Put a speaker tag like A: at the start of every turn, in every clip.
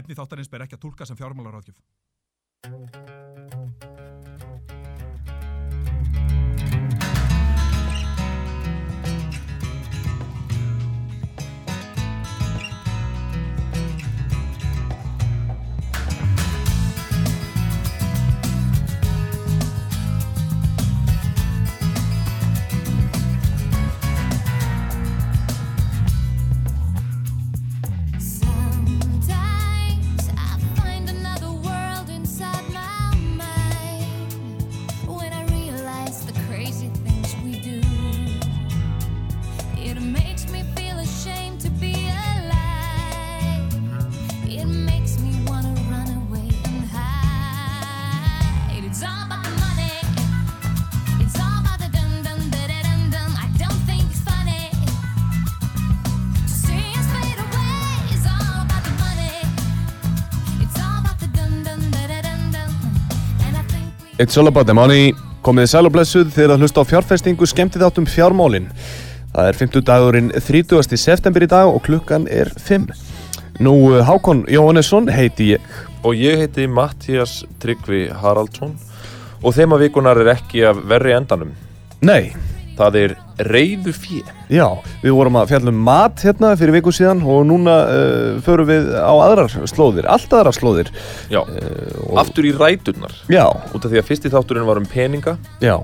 A: Efni þáttarins ber ekki að tólka sem fjármálaráðgjöf.
B: Sometimes I find another world inside my mind when I realize the crazy things we do. It makes me feel ashamed to be alive. It makes me wanna run away and hide. It's all about the money. It's all about the dum dum da da dum dum. I don't think it's funny. See us fade away. It's all about the money. It's all about the dum dum da da dum dum. And I think we.
C: It's all about the money Komið sæl og blessuð þegar að hlusta á fjárfestingu skemmti þáttum fjármálin Það er 50 dagurinn 30. september í dag og klukkan er 5 Nú eh, Hákon Jóhannesson heiti ég
D: Og ég heiti Mattias Tryggvi Haraldsson og þema vikunar er ekki af verri endanum.
C: Nei,
D: Það er reyðu fjö.
C: já, við vorum að fjallum mat hérna fyrir viku síðan og núna uh, förum við á aðrar slóðir, allt aðrar slóðir
D: Já, aftur í ræturnar.
C: Já,
D: Eh, Út af því að fyrsti þátturinn var um peninga
C: já,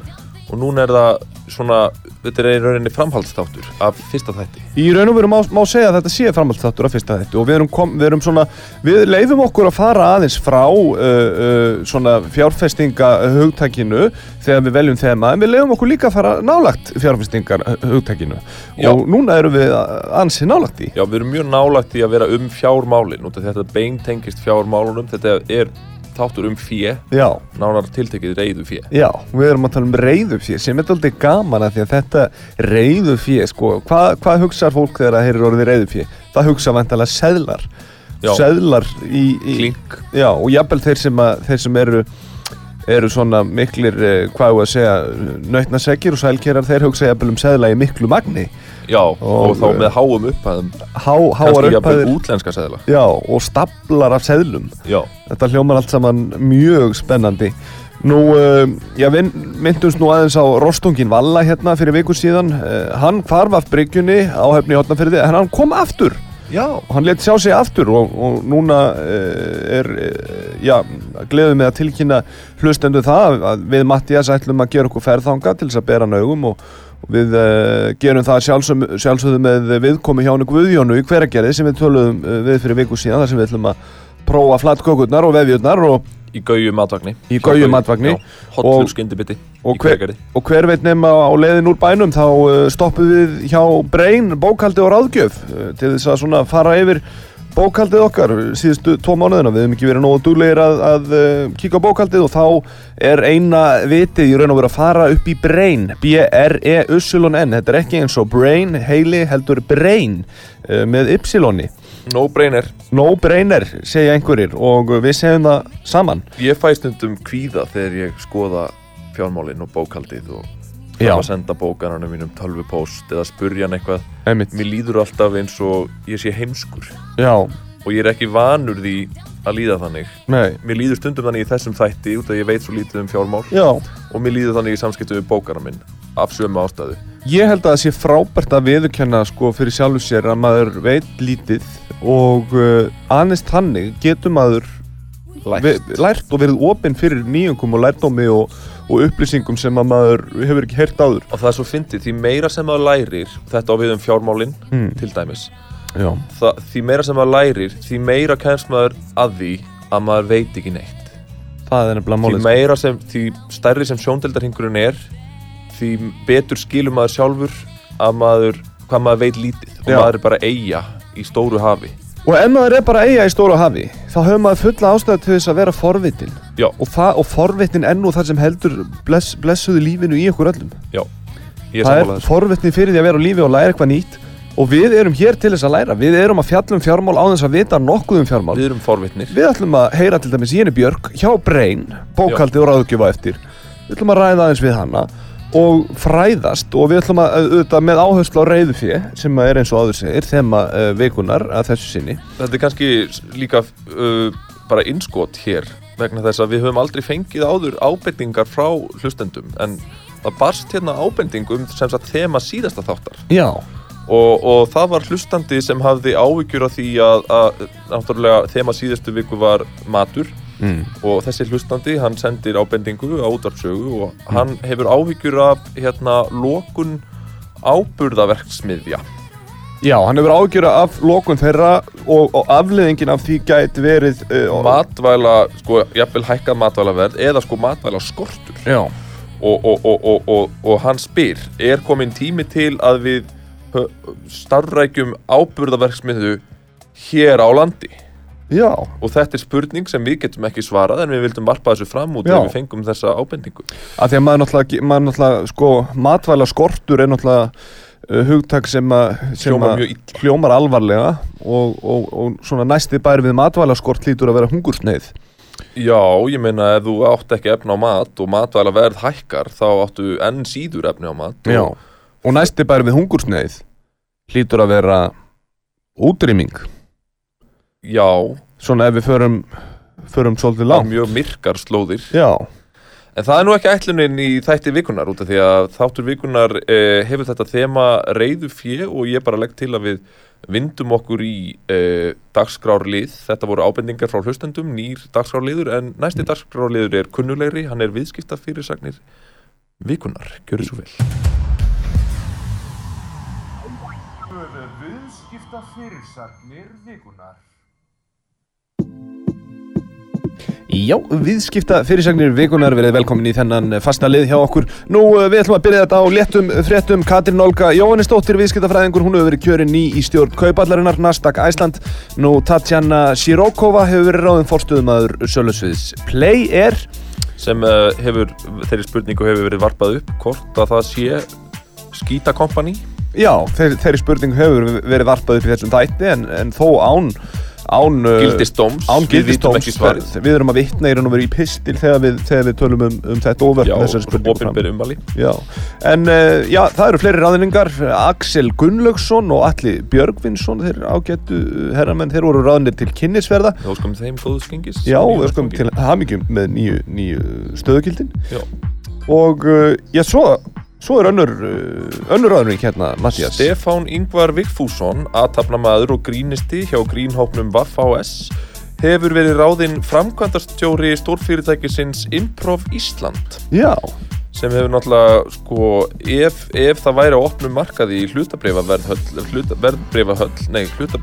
D: og núna er það svona, þetta er í rauninni framhaldsþáttur af fyrsta þætti.
C: í raun og veru má, má segja að þetta sé framhaldsþáttur af fyrsta þetta og við erum, kom, við erum svona, við leifum okkur að fara aðeins frá uh, uh, svona fjárfestinga hugtakinu þegar við veljum þema en við leifum okkur líka að fara nálagt fjárfestingar uh, hugtakinu
D: Já.
C: og núna erum við a- ansi nálagt í
D: Já, við erum mjög nálægt í að vera um fjármálin út af því að þetta beintengist fjármálunum. Þetta er þáttur um fjö,
C: Já,
D: nánar tiltekið reyðu fjö.
C: já, við erum að tala um reyðufjö sem er aldrei gaman að því að þetta reyðufjö, sko, hvað, hvað hugsar fólk þegar það heyrir orðið reyðufjö? Það hugsa vantalega seðlar,
D: Já.
C: seðlar í, í,
D: Klink.
C: Já, og jafnvel þeir sem, að, þeir sem eru, eru svona miklir, eh, hvað ég að segja, nautnasekkir og sælkerar, þeir hugsa jafnvel um seðla í miklu magni.
D: Já, og, þá
C: eh,
D: með háum upphæðum,
C: Há, háar
D: kannski jafnvel
C: upphæðir,
D: útlenska seðla.
C: já, og staplar af seðlum.
D: Já.
C: Þetta hljómar allt saman mjög spennandi. Nú, uh, já, við myndumst nú aðeins á Rostungin Valla hérna fyrir viku síðan. Uh, hann hvarf af bryggjunni á höfni í Hortnafyrði, en hann kom aftur.
D: Já.
C: hann let sjá sig aftur og, og núna uh, er, uh, já, gleðum við að tilkynna hlustendu það að við Mattias ætlum að gera okkur ferðanga til þess að bera hann augum og, og við uh, gerum það sjálfsög, sjálfsögðu með viðkomi hjá hann Guðjónu í hveragerði sem við töluðum uh, við fyrir viku síðan þar sem við ætlum að prófa flatkökurnar og vefjurnar og,
D: Í gauju matvagni
C: Í Gauju matvagni. Og-
D: Hotflug skyndibiti í
C: og, hver,
D: Hveragerði.
C: og hver veit nema á leiðin úr bænum þá uh, stoppum við hjá Brein bókaldið og ráðgjöf uh, til þess að svona fara yfir bókaldið okkar síðustu tvo mánuðina við hefum ekki verið nógu duglegir að, að uh, kíka á bókaldið og þá er eina vitið í raun og veru að fara upp í Brein B-R-E-U-S-U-L-O-N E þetta er ekki eins og Brain, heili heldur Brein uh, með Y-i
D: No brainer
C: No brainer, segja einhverjir og við segjum það saman
D: Ég fæ stundum kvíða þegar ég skoða fjármálin og bókaldið og
C: Já.
D: þarf að senda bókananum mínum tölvupóst eða spurja hann eitthvað
C: Einmitt.
D: Mér líður alltaf eins og ég sé heimskur
C: Já,
D: og ég er ekki vanur því að líða þannig
C: nei
D: Mér líður stundum þannig í þessum þætti út af því ég veit svo lítið um fjármál
C: Já,
D: og mér líður þannig í samskiptum við bókanan minn af sömu ástæðu
C: Ég held að það sé frábært að viðurkenna sko fyrir sjálfu sér að maður veit lítið og uh, aðeins þannig getur maður ve- lært og verið opinn fyrir nýjungum og lærdómi og, og upplýsingum sem að maður hefur ekki heyrt áður.
D: Og það er svo fyndið, því meira sem maður lærir, þetta á við um fjármálin
C: Hmm.
D: til dæmis,
C: Já.
D: Þa, því meira sem maður lærir, því meira kennst maður að því að maður veit ekki neitt.
C: Það er nefnilega
D: Því
C: málið. sko.
D: meira sem, því stærri sem sjóndeldarhingurinn er, því betur skilur maður sjálfur að maður, hvað maður veit lítið og
C: Já.
D: maður er bara eiga í stóru hafi.
C: Og ef maður er bara eiga í stóra hafi, þá hefur maður fulla ástæðu til þess að vera forvitin.
D: Já,
C: Og, það, og forvitin ennú þar sem heldur bless, blessuðu lífinu í okkur öllum.
D: já, ég er
C: það er
D: sammálað þessu.
C: forvittni fyrir því að vera á lífi og læra eitthvað nýtt og við erum hér til þess að læra við erum að fjalla um fjármál á þess að vita nokkuð um fjármál
D: Við erum forvitnir.
C: við ætlum að heyra til dæmis Jenny Björk hjá Brain bókaldið og ráðgjöfa eftir við ætlum að ræða aðeins við hana og fræðast og við ætlum að auðvitað með áherslu á reyðufjö sem að er eins og áður segir þema uh, vikunar að þessu sinni
D: Þetta er kannski líka uh, bara innskot hér vegna þess að við höfum aldrei fengið áður ábendingar frá hlustendum en það barst hérna ábendingum sem sagt þema síðasta þáttar
C: Já,
D: og, og það var hlustandi sem hafði áhyggjur af því að, að náttúrulega þema síðustu viku var matur
C: mm.
D: og þessi hlustandi hann sendir ábendingu á útvarpsögu og hann hefur áhyggjur af hérna lokun áburðaverksmiðja
C: Já hann hefur ágjöra af lokun þeirra og, og afleðingin af því gæti verið uh,
D: matvæla, sko, jafnvel hækkað matvælaverð eða sko matvæla skortur
C: Já
D: og, og, og, og, og, og hann spyr er komin tími til að við hö- starfrækjum áburðaverksmiðu hér á landi
C: Já,
D: og þetta er spurning sem við getum ekki svarað en við vildum varpa þessu fram út
C: Já.
D: ef við fengum þessa ábendingu
C: af því að maður náttúrulega, ge- maður náttúrulega sko, matvæla skortur er náttúrulega uh, hugtak sem að sem
D: Hljómar
C: að
D: mjög illa.
C: hljómar alvarlega og, og, og svona næsti bæri við matvæla skort lítur að vera hungursneið
D: Já, ég meina ef þú átt ekki efni á mat og matvæla verð hækkar þá áttu enn síður efni á mat og,
C: og næsti bæri við hungursneið lítur að vera útrýming
D: já
C: svona ef við förum förum svolítið
D: á
C: langt
D: mjög myrkar slóðir
C: Já,
D: En það er nú ekki ætlunin í þætti vikunar út af því að þáttur vikunar eh, hefur þetta þema reyðu fjö og ég bara legg til að við vindum okkur í eh, dagskrárlið. Þetta voru ábendingar frá hlustendum, nýr dagskrárliður en næsti dagskrárliður er kunnulegri, hann er viðskipta fyrirsagnir vikunar. Gjörðu svo vel.
E: Viðskipta fyrirsagnir vikunar
C: Já, viðskipta fyrirsagnir vikunar verið velkomin í þennan fasta lið hjá okkur. Nú, eh, við ætlum að byrja þetta á léttum fréttum. Katrin Olga Jóhannesdóttir, viðskiptafræðingur, hún hefur verið kjörin ný í stjórn kaupallarinnar, Nasdaq Æsland. Nú, Tatjana Sirokova hefur verið ráðin fórstöðumadur Sölusviðs Play Air.
D: Sem eh, hefur, þeirri spurningu hefur verið varpað upp hvort að það sé skítakompani.
C: Já, þeir, þeirri spurning hefur verið varpað upp í þessum þætti, en, en þó án... án eh,
D: Gildistóms,
C: án
D: við vitum ekki
C: gildistóms,
D: svarið.
C: við erum að vitna í raun og verið í pistil þegar við, þegar við tölum um, um þetta
D: Já,
C: óverk þessari spurningu fram.
D: opinber ummali.
C: Já, en uh, já, það eru fleiri ráðningar Axel Gunnlaugsson og Alli Björgvinsson þeir ágættu eh, herramenn, þeir voru ráðnir til kynnisverða
D: Þá skum þeim góðu skengis.
C: Já,
D: Nýju
C: við skoðum
D: áfangi.
C: til hamingjum með nýju, nýju stöðugildin
D: Já.
C: og uh, já, svo, svo er önnur, uh, önnur ráðning hérna, Mattias
D: Stefán Yngvar Vigfússon, aðtapnamaður og grínisti hjá grínhópnum Vaff-HS, hefur verið ráðinn framkvæmdastjóri stórfyrirtækisins Improv Ísland
C: Já,
D: sem hefur náttúrulega, sko, ef, ef það væri á opnum markaði í hlutabrifaverðhöll, hluta, verðbrifahöll, nei, hluta,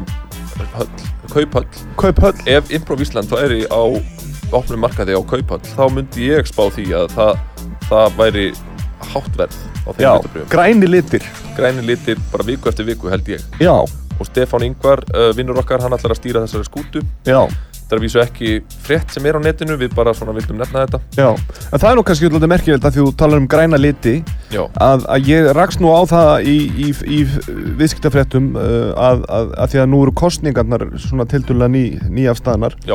D: hlutabrifahöll, kauphöll,
C: Kauphöll
D: ef Improv Ísland væri á opnum markaði á kauphöll, þá myndi ég spá því að það, það væri hátt verð á þeim
C: Já,
D: hlutabrifum.
C: græni litir
D: Græni litir bara viku eftir viku held ég.
C: Já,
D: og Stefán Yngvar, uh, vinnur okkar, hann ætlar að stýra þessari skútu.
C: já,
D: Þetta er að vísu ekki frétt sem er á netinu, við bara svona vildum nefna þetta.
C: já En það er nú kannski alltaf merkilegt að því þú talar um græna liti
D: Já.
C: að, að ég rakst nú á það í, í, í viðskiptafréttum uh, að, að, að því að nú eru kostningarnar svona tildulega ný, nýjafstaðnar
D: Já,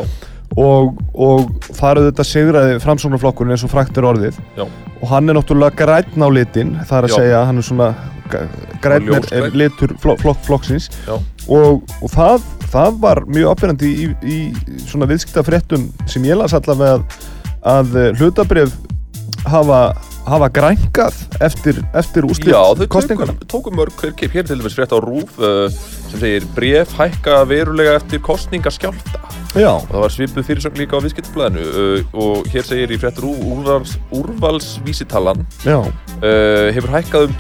C: og, og þar auðvitað sigraði framsóknarflokkurinn eins og frækt er orðið
D: já,
C: og hann er náttúrulega grætn á litin það er að
D: Já.
C: segja að hann er svona grætn er,
D: Ljósgrænn.
C: er litur flok, flok, flokksins
D: já.
C: og, og það, það var mjög afbyrjandi í, í svona viðskiptafréttum sem ég las allavega að, að hlutabrif hafa, hafa grænkað eftir, eftir
D: Já, þau
C: úslit
D: tóku,
C: kostningarna.
D: tóku mörg hver kip, hér er til dæmis frétt á RÚF uh, sem segir bref hækka verulega eftir kostningaskjálfta
C: Já,
D: og það var svipuð fyrirsögn líka á viðskiptablaðinu uh, og hér segir í frétt RÚF úrvals, úrvalsvísitalan
C: já,
D: uh, hefur hækkað um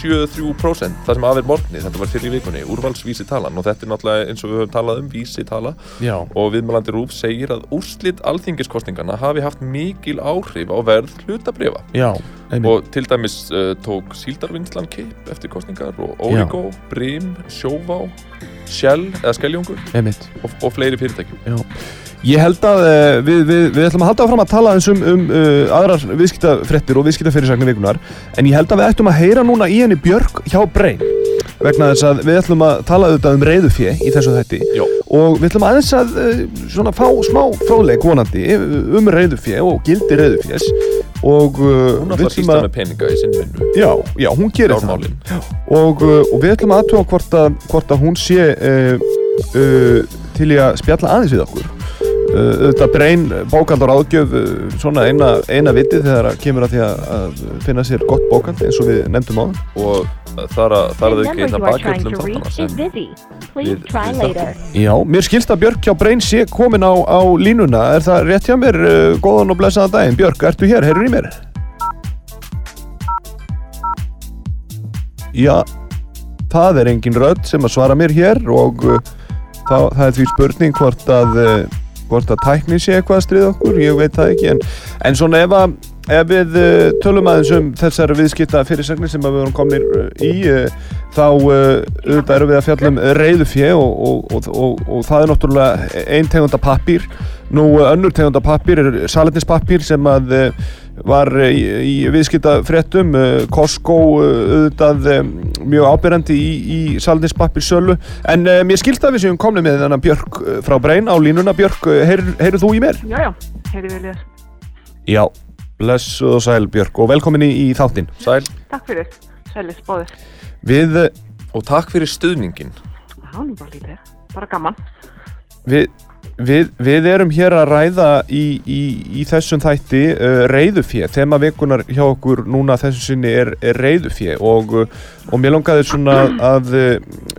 D: 2,73% það sem af er morgni, þetta var fyrir í vikunni úrvalsvísitalan og þetta er náttúrulega eins og við höfum talað um vísitala
C: já.
D: og viðmælandi Rúf segir að úrslit alþingiskostninganna hafi haft mikil áhrif á verð hlutabrifa
C: Já, einmitt.
D: og til dæmis uh, tók síldarvinnslan keip eftir kostningar og Origo, Brim, Sjóvá, Shell eða Skeljóngur
C: einmitt.
D: og, og fleiri fyrirtækjum.
C: Ég held að uh, við, við, við ætlum að halda áfram að tala eins um, um uh, aðrar viðskiptafrettir og viðskiptafyrirsagnir vikunar en ég held að við ættum að heyra núna í henni Björk hjá Brein vegna þess að við ætlum að tala auðvitað um reyðufjö í þessu þætti
D: Já,
C: og við ætlum aðeins eh, að uh, svona fá smá fróðleik vonandi um reyðufjö og gildi reyðufjës og uh,
D: Hún
C: við
D: ætlar
C: sem
D: ístað
C: að
D: með peninga í sinni vinnu.
C: já, já, hún gerir það
D: Fjármálin.
C: og, uh, og við ætlum að aðtuga hvort, að, hvort að hún sé uh, uh, til í að spjalla aðeins við okkur uh, þetta breyn bókald og ráðgjöf uh, svona eina, eina viti þegar að kemur að því að, að finna sér gott bókald eins og við nefndum á
D: Og þar að þar að
F: The
D: ekki
F: number
D: einna
F: you are trying
D: bakhjöldum
F: to reach
D: þáttana
F: is
D: sem
F: busy. Please
D: við-
F: try
D: við
F: later.
C: já, mér skilst að Björk hjá breyn sé komin á, á línuna er það rétt hjá mér, uh, góðan og blessaðan daginn Björk, ertu hér, heyrur í mér? Já, það er engin rödd sem að svara mér hér og uh, það, það er því spurning hvort að, uh, hvort að tækni sé eitthvað að stríða okkur, ég veit það ekki en, en svona ef, að, ef við uh, tölum aðeins um þessar viðskipta fyrirsagnir sem að við erum komnir uh, í uh, þá uh, auðvitað erum við að fjalla um reyðufjö og, og, og, og, og það er náttúrulega ein tegunda pappír nú uh, önnur tegunda pappír er salernispappír sem að uh, var eh, í, í viðskiptafréttum eh, Costco eh, auðvitað eh, mjög ábyrjandi í, í salninspappir sölu en eh, mér skildi að við séum komni með þennan Björk eh, frá Brein á línuna Björk, eh, heyr- heyrðu þú í mér?
G: Já, já, heyrðu vel þér.
C: Já Blessuð og sæl Björk og velkomin í, í þáttinn
D: Sæl.
G: Takk fyrir. Sælis, bóðir.
C: Við, eh,
D: Og takk fyrir stuðningin.
G: Já, nú bara lítið. Bara gaman.
C: við, við, við erum hér að ræða í, í, í þessum þætti uh, reyðufjö þema vikunar hjá okkur núna að þessu sinni er, er reyðufjö og, uh, og mér langaði svona að uh,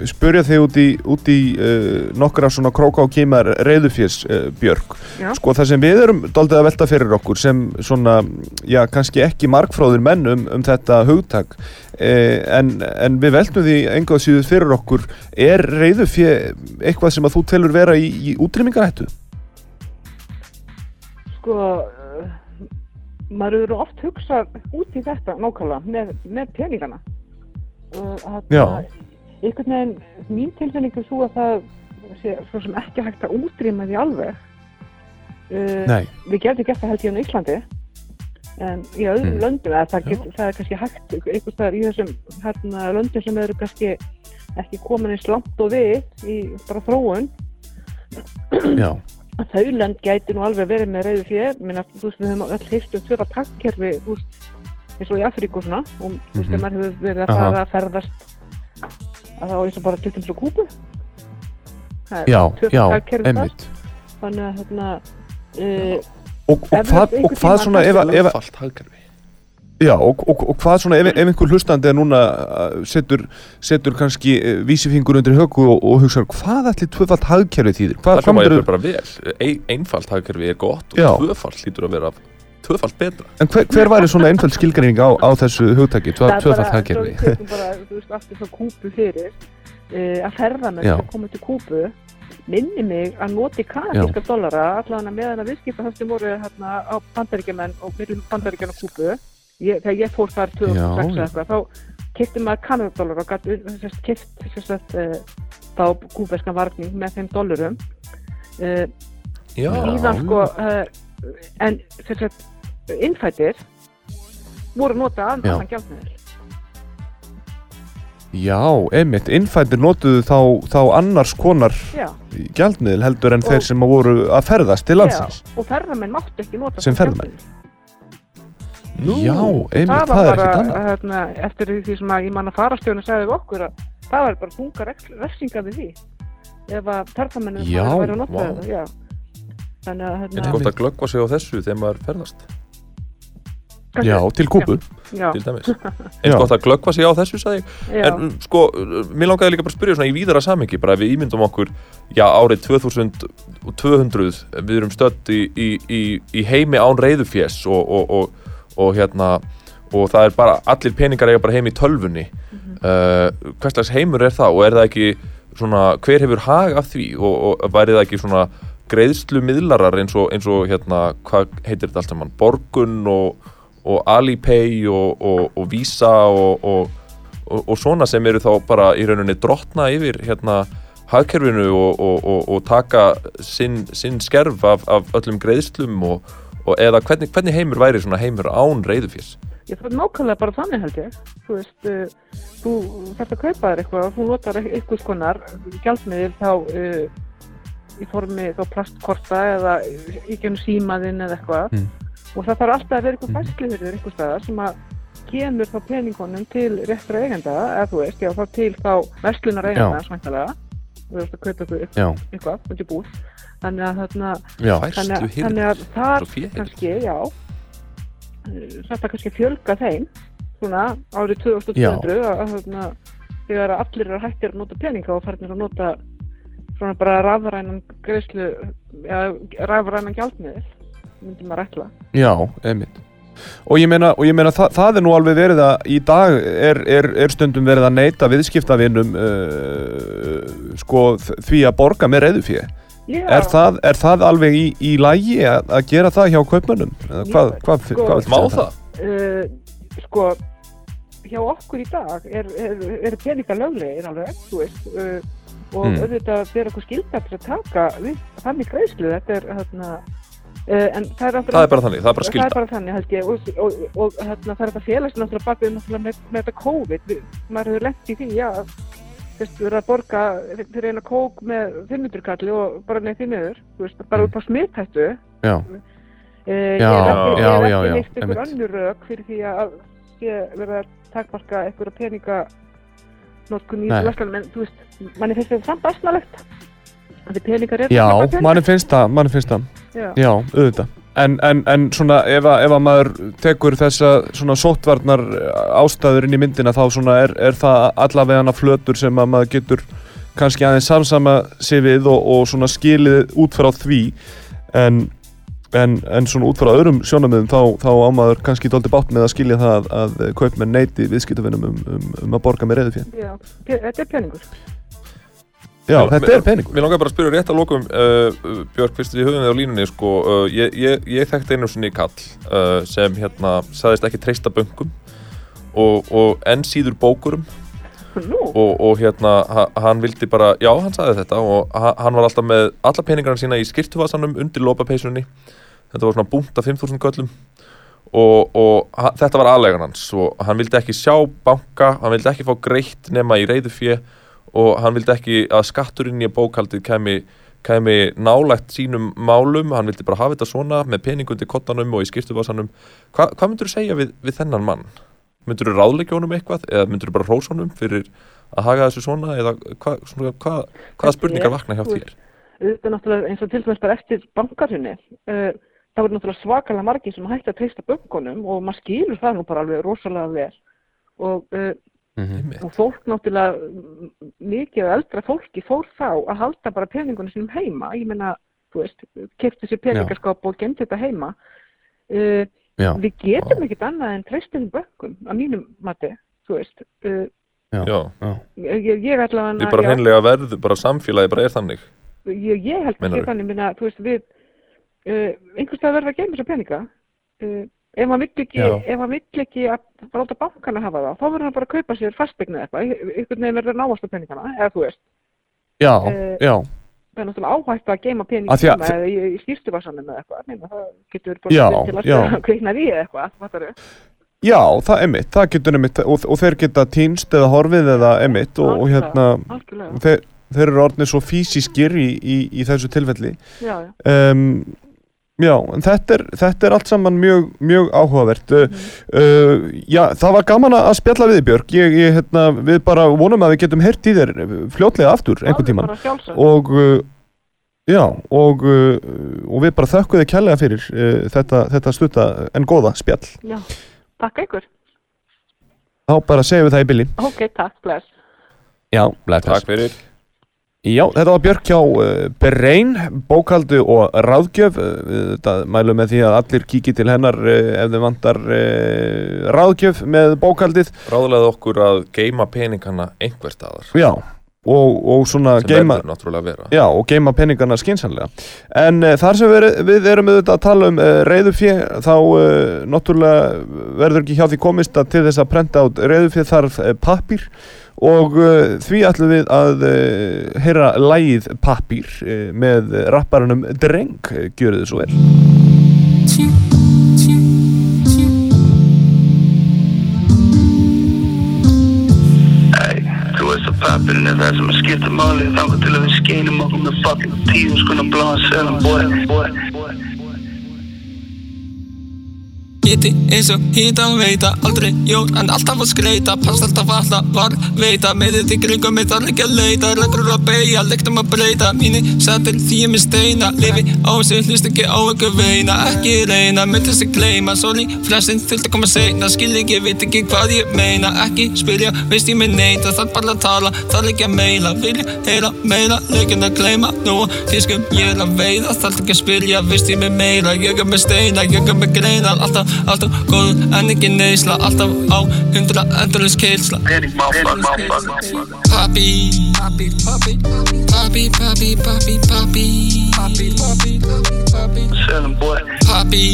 C: spurja þig út í, út í uh, nokkra svona króka og kýmar reyðufjës uh, Björg
G: Já.
C: sko það sem við erum doldið að velta fyrir okkur sem svona, já kannski ekki markfróðir menn um, um þetta hugtak eh, en, en við veltum því enga síður fyrir okkur er reyðu fyrir eitthvað sem að þú telur vera í, í útrýmingarættu?
G: Sko, uh, maður eru oft hugsað út í þetta nákvæmlega með, með peningana. Uh, að-
C: Já.
G: að Einhvern veginn, mín tilfinning er svo að það sé svo sem ekki hægt að útrýma því alveg. Uh,
C: Nei.
G: Við getum gert það held ég á Íslandi en í öðrum
D: Hmm.
G: löndum eða það, get, það er kannski hægt einhvers staðar í þessum hérna, löndum sem eru kannski ekki komin eins langt og við í bara þróun
C: Já.
G: að þau lönd gæti nú alveg verið með reyðu fyrir minna, þú veist, við höfum öll heilt um fyrra takkkerfi, þú veist, eins og í Afríku og svona, og þú veist,
C: Mhm.
G: að maður hefur verið að
C: Aha.
G: fara að ferðast að það var eins og bara til þess að kúpu Það er tvöfalt hagkerfi þar. þannig að hérna uh,
C: Og, og,
G: Ef við
C: hvað, og
G: einhvern
C: hvað
G: tímann
C: svona ef, að- ef, að-
D: Lögfalt hagkerfi.
C: já, og, og, og hvað svona ef, ef einhver hlustandi er núna uh, setur, setur kannski uh, vísifingur undir höku og, og hugsar hvað ætli tvöfalt hagkerfi þýðir? Hvað,
D: Það hljóma
C: hvað
D: ég
C: myndirðu-
D: bara vel. Ein, einfalt hagkerfi er gott
C: Já.
D: og tvöfalt lítur að vera tvöfalt betra.
C: En hver, hver væri svona einföld skilgreining á, á þessu hugtaki, tvö- tvöfalt hagkerfi?
G: Það er bara, eins og við tökum bara, þú veist, aftur frá Kúbu fyrir, uh, að ferðamenn
C: Já.
G: sem komu til Kúbu minni mig að noti kanadíska dollara, allavega meðan að viðskipta það sem voru hérna á bandaríkjumenn og byrjum bandaríkjumenn á Kúbu. Ég, þegar ég fór þar 2006
C: Já, já.
G: eða eitthvað, þá kipti maður kanadadollara og eh, gæti kipt þess að uh, þá kúberskan varning með þeim dollurum. Uh,
D: Já.
G: síðan sko uh, en sem sagt, innfættir voru nota að
C: Já.
G: annan gjaldmiðil
C: Já, einmitt, innfættir notuðu þá, þá annars konar
G: já,
C: gjaldmiðil heldur en
G: Og-
C: þeir sem að voru að ferðast til
G: já,
C: landsins.
G: og ferðamenn máttu ekki nota
C: Sem
G: þann
C: ferðamenn.
G: gjaldmiðil.
D: Nú.
C: Já, einmitt,
G: það
C: það
G: var
C: er ekkert
G: bara
C: annað.
G: hérna, eftir því sem að ég manna farastjónu sagði við okkur að það var bara þunga refs- refsingar við því ef að ferðamenn
C: Já,
G: væri að nota
D: vá.
G: þetta já. þannig að
D: Þetta er
G: hérna,
D: gott að glöggva sig á þessu þegar maður ferðast,
G: kannski-
C: Já, til kúpu.
G: já,
D: til dæmis. Eins
C: Já.
D: gott að glöggva sig á þessu, sagði ég.
G: já,
D: En um, sko, uh, mér langaði líka bara að spyrja svona í víðara samengi, bara ef við ímyndum okkur, já, árið 2200, við erum stödd í, í, í, í heimi án reyðufjess og, og, og, og hérna, og það er bara, allir peningar eiga bara heim í tölvunni. uh, hvers slags heimur er það og er það ekki svona, hver hefur hag af því og, og væri það ekki svona greiðslu miðlarar eins og, eins og hérna, hvað heitir þetta allt saman, Borgun og, og Alipay og, og, og Visa og, og, og, og svona sem eru þá bara í rauninni drottna yfir hérna hagkerfinu og, og, og, og taka sinn, sinn skerf af, af öllum greiðslum og, og eða hvernig, hvernig heimur væri svona heimur án reyðufjörn?
G: Ég þarf nákvæmlega bara þannig held ég. Þú veist, uh, þú þarf að kaupa þér eitthvað og þú notar eit- einhvers konar gjaldmiðil þá eh, uh, í formi þá plastkorta eða í genn eh, símaðinn eða eitthvað.
C: Mm.
G: og það þarf alltaf að vera
C: Hmm.
G: einhver fæsluhyrður einhver staðar sem að kemur þá peningunum til réttra eigenda eða þú veist, já, þá til þá verslunar eigenda
C: Já.
G: svæntalega þú veist að kaupa ykkur
C: já,
G: eitthvað, þetta er búið þannig að þarna
C: já,
D: Færstu
G: þannig að,
D: hirðir.
G: þannig að þar
D: Svo féhirðir.
G: kannski, já Eh, þetta kannski að fjölga þeim svona árið 2200 að, að, þarna, þegar að allir eru hættir að nota peninga og farnir að nota svona bara rafrænan greiðslu ja, rafrænan gjaldmiðil myndi maður ætla
C: já, einmitt. Og ég meina, og ég meina það, það er nú alveg verið að í dag er, er, er stundum verið að neyta viðskiptavinnum uh, sko þ- því að borga með reyðufíði.
G: Já,
C: Er það, er það alveg í, í lægi að, að gera það hjá kaupmönnum? Eða
G: Ég-
C: hvað, um hvað,
G: sko-
C: hvað, hvað
D: Má það?
G: uh, sko hjá okkur í dag er, er, er peninga löglegir alveg þú veist uh, og
D: Mm.
G: auðvitað vera okkur skilda til að taka við, þannig greiðslu þetta er hérna uh, en það er,
D: Það er bara þannig, það er bara
G: það er
D: skilda.
G: bara þannig held ég og, og, og, hérna, það er þetta félags náttúrulega bakið náttúrulega með, með þetta COVID við, maður hefur lent í því já þess að vera að borga fyrir eina kók með 500 kalli og bara neitt því miður þú veist, bara upp á smittættu
C: Mm. Já,
G: Uh, ég
C: Já,
G: hef ekki-
C: já,
G: ég
C: já, já,
G: hef ekki
C: einmitt.
G: einhver önnur rök fyrir því að ég verið að takmarka einhverja peninga notkun í
C: Nei.
G: þessu verslanum en þú veist, manni finnst þetta samt aðsnalegt að því peningar eru
C: já
G: bara peningar.
C: manni finnst það, manni finnst það.
G: Já.
C: Já, auðvitað. En, en, en svona ef að, ef að maður tekur þessa svona sóttvarnar eh, ástæður inn í myndina þá svona er, er það allavega hana flötur sem að maður getur kannski aðeins samsama sig við og, og svona skilið út frá því en, en, en svona út frá öðrum sjónamiðum þá, þá á maður kannski dóldi bátt með að skilja það að, að kaupmenn neyti viðskiptafinnum um, um, um að borga með reyðu
G: Já, pe- þetta er peningur
C: Já,
D: Mér-
C: þetta er peningur
D: Mér langar bara að spyrja rétt að lokum uh, Björk, fyrst við höfum þið á línunni sko, uh, ég, ég, ég þekkti einu sinni kall uh, sem hérna sagðist ekki treysta bönkum og, og enn síður bókurum
G: Nú,
D: og, og hérna ha- hann vildi bara, já hann sagði þetta og ha- hann var alltaf með alla peningarna sína í skirtuvasanum undir lopapeysunni þetta var svona búnt af 5.000 köllum og, og ha- þetta var aðlegan hans og hann vildi ekki sjá banka hann vildi ekki fá greitt nema í reyðufjö og hann vildi ekki að skatturinn í bókaldið kemi, kemi nálægt sínum málum hann vildi bara hafa þetta svona með peningundi kottanum og í skirtuvasanum Hva, hvað myndur þú segja við, við þennan mann? Myndur þú ráðleggja honum eitthvað eða myndur þú bara hrósa honum fyrir að haga þessu svona eða hva, svona, hva, hvaða spurningar vakna hjá þér?
G: þetta er náttúrulega eins og til dæmis bara eftir bankarhunni uh, það voru náttúrulega svakalega margir sem hætti að treysta böngunum og maður skilur það nú bara alveg rosalega vel og uh,
D: Mhm. Einmitt.
G: og fólk náttúrulega m- m- mikið af eldra fólki fór þá að halda bara peningunum sínum heima ég meina, þú veist, kefti sér peningaskáp og gemdi þetta heima uh,
C: Já.
G: við getum ekkert annað en treystum bökkum, að mínum mati þú veist, uh,
D: Já,
G: ég, ég ætla að
D: við bara hreinlega verðu, bara samfélagi bara er þannig
G: ég, ég held að
D: Meinarðu?
G: sé þannig minna, þú veist, við uh, einhvers veginn verður að geyma þessa peninga uh, ef hann vill ekki,
C: Já.
G: ef hann vill ekki að bara láta bankana hafa það, þá verður hann bara að kaupa sér fastegna eitthvað, ein- einhvern veginn verður að náast á peningana, eða þú veist
C: Já,
G: Eh,
C: já,
G: það er náttúrulega áhægt að geima pening
C: Af því að-
G: heima eða í, í skýrstuvarsanum eða eitthvað Neina, það getur bara
C: Já,
G: verið til
C: já.
G: að kveikna því eða eitthvað fattarðu?
C: Já, það emitt, það getur emitt og, og þeir geta týnst eða horfið eða emitt og, og hérna
G: algjörlega,
C: þeir, þeir eru orðnir svo fysískir í, í, í þessu tilfelli
G: já, já,
C: um, Já, en þetta er, þetta er allt saman mjög, mjög
G: Mhm.
C: áhugavert mm. uh, Já, það var gaman að spjalla við þig, Björg ég, ég, hérna, Við bara vonum að við getum heyrt í þér fljótlega aftur einhvern
G: Alveg
C: tíman
G: bara sjálfsagt.
C: og uh, já og, uh, og við bara þökkum þið kærlega fyrir uh, þetta, þetta stutta en góða spjall
G: já. takk ykkur,
C: þá bara segjum við það í bylli
G: ok, takk, bless
C: Já, bless,
D: Takk fyrir
C: Já, þetta var Björk hjá uh, Brein, bókaldu og ráðgjöf. Uh, þetta mælum með því að allir kíki til hennar uh, ef þau vantar uh, ráðgjöf með bókaldið.
D: Ráðlega okkur að geima peningana einhver staðar
C: Já, og, og svona
D: sem
C: geima...
D: verður náttúrulega að vera
C: Já, og geima peningana skinsanlega. En uh, þar sem við, við erum auðvitað að tala um uh, reyðufjö, þá uh, náttúrulega verður ekki hjá því komist að til þess að prenta át reyðufjö þarf uh, pappir og uh, því ætlum við að uh, heyra lægið pappir uh, með rapparunum Dreng, uh, gjörðu þið svo vel.
F: Æ, þú veist að pappirinn er það sem er skipta máli Þangar til að við skeinum okkur með fucking tíu skona bláðan svelan Bói, bói, bói
H: viti eins og hýta veita Aldrei jól en alltaf að skreita Past alltaf alla var veita Með þetta í kringum mig þarf ekki að leita Reglur að beigja, leiknum að breyta Mínu sættir því ég minn steina Lifi á sig, hlust ekki á ykkur veina Ekki reyna, mynd þessi gleyma Sorry, flestin þurft að koma seinna Skil ekki, veit ekki hvað ég meina Ekki spyrja, veist ég minn neita Þarf bara að tala, þarf ekki að meila Vilja heyra meira, leikin að gleyma Nú að fiskum ég er að veiða Þarf ekki að spyrja, veist ég minn meira Ég er með steina, ég er með greinar Alltaf, alltaf góð, en ekki neysla Alltaf á hundra endurins keilsla
F: Penny motherfucker.
H: Papi, papi, papi Papi, papi, papi, papi Papi, papi, papi
F: Sell him, boy.
H: Papi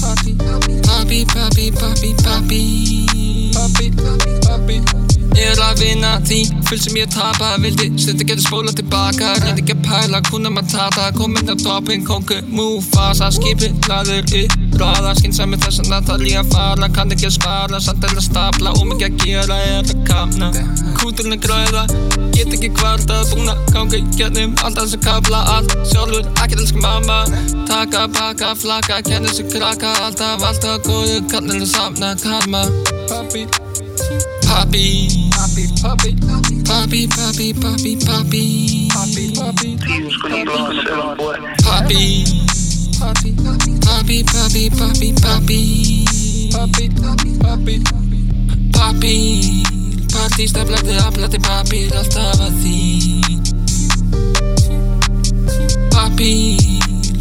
H: Papi, papi, papi, papi Papi, papi, papi Ég er að vinna að því Fylg sem ég tapa vildi Stundi getur spóla tilbaka Reyndi ekki að pæla Kuna matata Komin á toppin Kongu Mufasa Skipi laður upp Ráða skynsami þess að Natalía fara Kann ekki að spara Samt er að stapla Og mikið að gera Er að kamna Kúturinn er græða Get ekki kvarta Búna gangi Gjarnum Alltaf þess að kapla Allt sjálfur Ekkert elsku mamma Taka, baka, flaka Kenni sig krakka Alltaf, alltaf góðu Kallin að samna Karma Papi Papi Papi, papi Papi, papi, papi, papi Papi, papi
F: He's gonna blow him, sell him, boy.
H: Papi Papi, papi, papi, papi Papi Papi, papi Papi Parti, staflati, aflati, papi Alltaf að því Papi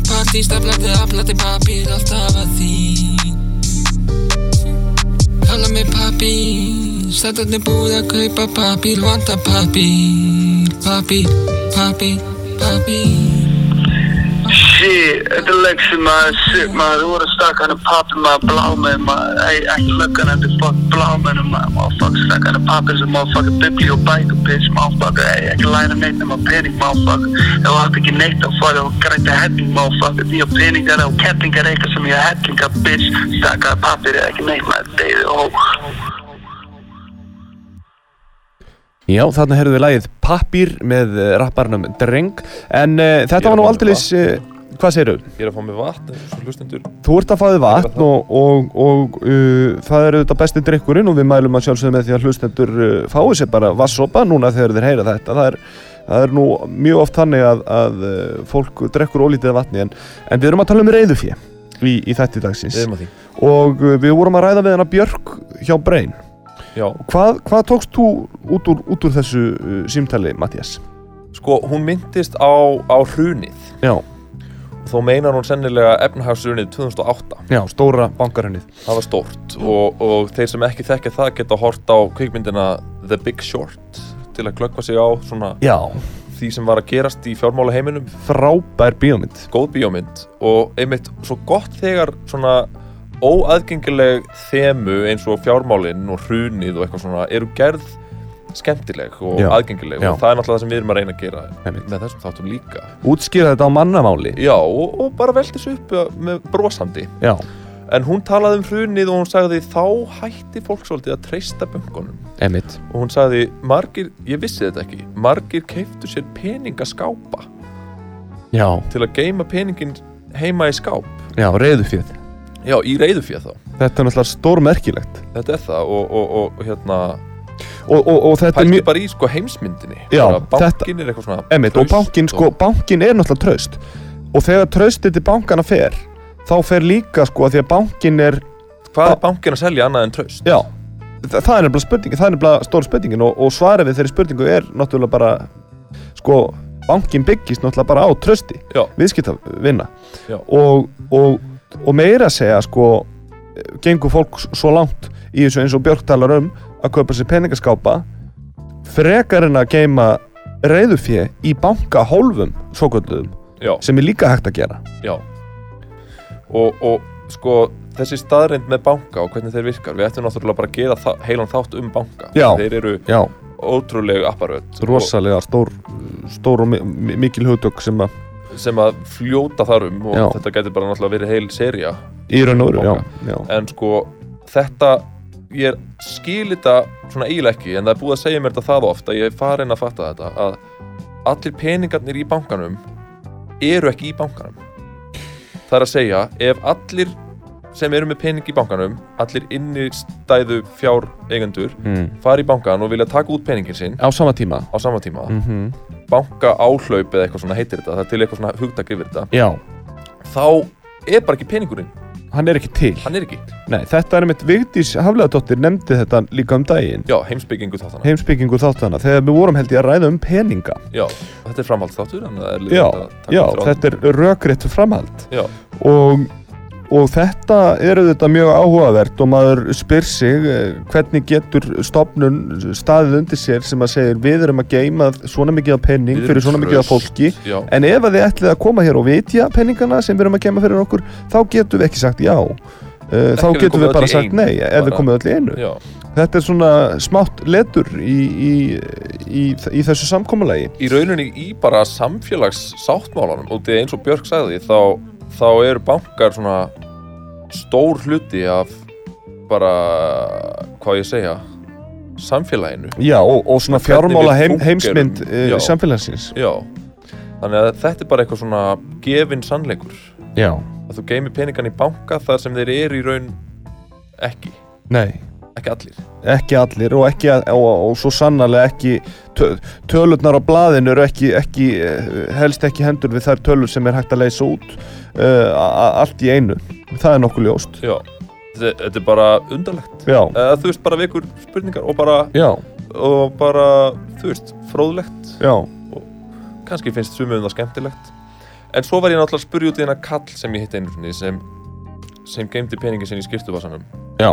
H: Parti, staflati, aflati, papi Alltaf að því Kalla mig pappi Stættarni búið að kaupa pappír Vanta pappír Pappír, pappír, pappír
F: Shit, þetta er leksið maður, shit maður, þú voru stakk hann að pappi maður, blámið maður, ei, ekki löggan hann til fuck blámið maður, motherfucker, stakk hann að pappi sem motherfucker, bibliobækur, bitch, motherfucker, ei, ekki læna neitt nema pening, motherfucker, ef þú átt ekki neitt að fara, þú grænt að helling, motherfucker, því að peningar og kettingar eitthvað sem ég að hellinga, bitch, stakk hann að pappi, ekki neitt maður, deyði, ó,
C: Já, þarna heyrðum við lagið Pappir með eh, rapparnum Dreng En uh,
D: Ég er
C: þetta var nú
D: að fá mér
C: aldeilis, uh, hvað segirðu?
D: Ég er að fá mig vatn, svo hlustendur.
C: Þú ert að fáið vatn og, og, og uh, það eru þetta besti drikkurinn og við mælum að sjálfsögum með því að hlustendur uh, fáið sér bara vassopa núna þegar þeir heyra þetta. Það er, það er nú mjög oft þannig að, að uh, fólk drekkur ólítið af vatni en, en við erum að tala um reyðufjö í, í þætti dagsins
D: Við erum að því.
C: og uh, við vorum að ræða við hana Björk hjá Brein.
D: Já,
C: Hvað, hvað tókst þú út úr, út úr þessu uh, símtali, Mattias?
D: sko, hún myndist á, á hrunið.
C: Já,
D: Þó meinar hún sennilega efnahagsrunið 2008.
C: já, stóra bankarhennið.
D: Það var stórt og, og þeir sem ekki þekkja það geta hort á kvikmyndina The Big Short til að glöggva sig á svona
C: Já,
D: því sem var að gerast í fjármála heiminum
C: frábær bíómynd.
D: góð bíómynd og einmitt svo gott þegar svona óaðgengileg þemu eins og fjármálinn og hrunið og eitthvað svona eru gerð skemmtileg og
C: Já.
D: aðgengileg
C: Já.
D: og það er náttúrulega það sem við erum að reyna að gera
C: Einmitt.
D: með þessum þáttum líka
C: Útskýra þetta á mannamáli.
D: Já, og, og bara velti þessu upp ja, með brosandi
C: Já,
D: en hún talaði um hrunið og hún sagði þá hætti fólk svolítið að treysta böngunum
C: emitt.
D: og hún sagði margir, ég vissi þetta ekki margir keiftu sér peningaskápa
C: Já,
D: til að geima peningin heima í skáp
C: já, reyðufjöð.
D: já, í reyðufjöð þá
C: Þetta er náttúrulega stórmerkilegt.
D: þetta er það og, og, og hérna
C: Og, og, og þetta er
D: pælti
C: mjög...
D: bara í sko heimsmyndinni
C: Já,
D: Bara
C: þetta-
D: bankin er eitthvað svona
C: Emitt, og
D: traust
C: bankin, sko, bankin er náttúrulega traust. Og þegar traustið til bankana fer, þá fer líka, sko, að því að bankin er...
D: hvað er bankin að selja annað en traust
C: Já, þa- það er nefnilega spurningin, það er nefnilega stór spurningin og, og svarið við þeirri spurningu er náttúrulega bara, sko, bankin byggist náttúrulega bara á trausti,
D: Já.
C: viðskiptavinna.
D: Já.
C: Og, og, og meira að segja, sko, gengur fólk s- svo langt í þessu eins og Björk talar um að kaupa sér peningaskápa frekar en að geima reyðufjö í banka hólfum svokvölduðum
D: já,
C: sem er líka hægt að gera
D: já. Og, og sko þessi staðrind með banka og hvernig þeir virkar við ættum náttúrulega bara að gera þa- heilan þátt um banka
C: Já.
D: þeir eru
C: Já,
D: ótrúlegu apparöð
C: rosalega stór, stór og mi- mi- mikil hugtök sem að
D: sem að fljóta þar um og
C: Já.
D: þetta getur bara náttúrulega verið heil seria
C: í raun og veru, já,
D: Banka.
C: já
D: en sko þetta ég skil þetta svona eiginlega ekki en það er búið að segja mér þetta það oft að ég er farin að fatta þetta að allir peningarnir í bankanum eru ekki í bankanum það er að segja ef allir sem eru með pening í bankanum allir innistæðu fjár eigendur
C: mm.
D: fara í bankan og vilja taka út peningin sinn
C: á sama tíma
D: á sama tíma
C: mm
D: banka áhlaup eða eitthvað svona heitir þetta það er til eitthvað svona hugtak yfir þetta
C: Já,
D: þá er bara ekki peningurinn
C: hann er ekki til
D: hann er ekki
C: Nei, þetta er einmitt Vigdís Hafleðadóttir nefndi þetta líka um daginn
D: já heimsbyggingu þáttana
C: heimsbyggingu þáttana þegar við vorum held ég að ræða um peninga
D: já þetta er framhaldsþáttur þannig að það er
C: Já,
D: leiðinlegt að taka
C: já,
D: þráðinn.
C: þetta er rökrétt framhald
D: já
C: og, og þetta er auðvitað mjög áhugavert og maður spyr sig eh, hvernig getur stopnun staðið undir sér sem að segir við erum að geima svona mikið af
D: Við
C: penning
D: erum
C: fyrir svona mikið af
D: traust.
C: fólki
D: já
C: en ef að þið ætlið að koma hér og vitja penningana sem við erum að geima fyrir okkur þá getum við ekki sagt já Eh, þá
D: Ekki ef við
C: getum
D: komum
C: við bara
D: öll í
C: sagt
D: einu,
C: nei ef við
D: bara.
C: komum öll í einu
D: já
C: Þetta er svona smátt letur í, í, í, í þessu samkommalagi.
D: í rauninni í bara samfélags sáttmálanum og eins og Björk sagði þá, þá eru bankar svona stór hluti af bara hvað ég að segja samfélaginu
C: Já, og, og svona
D: Hvernig við
C: fjármála heim,
D: fúnkerum.
C: heimsmynd uh,
D: Já.
C: samfélagsins.
D: já þannig að þetta er bara eitthvað svona gefin sannleikur
C: Já.
D: að þú geymir peningan í banka þar sem þeir eru í raun ekki
C: Nei,
D: ekki allir
C: ekki allir og, ekki, að- og, og svo sannarlega ekki tö, tölurnar á blaðinu eru ekki, ekki, eh, helst ekki hendur við þær tölur sem er hægt að leysa út uh, allt í einu. Það er nokkuð ljóst.
D: já þetta, þetta er bara undarlegt
C: Já,
D: eða þú veist bara vekur spurningar og bara,
C: já,
D: og bara þú veist fróðlegt
C: já,
D: kannski finnst sumum það skemmtilegt en svo var ég náttúrulega að spurja út í þennan kall sem ég hitt einu sinni sem, sem geimdi peningin sinni í skiptuvassanum
C: já,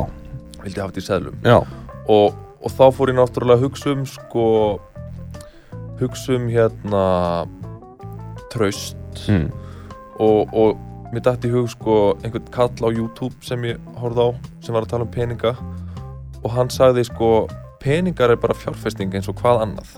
D: vildi hafa þetta í seðlum
C: já,
D: og, og þá fór ég náttúrulega að hugsa um sko hugsa um hérna traust
C: mm.
D: og, og mér dætti í hug sko einhvern kall á YouTube sem ég horfði á sem var að tala um peninga og hann sagði sko peningar er bara fjárfesting eins og hvað annað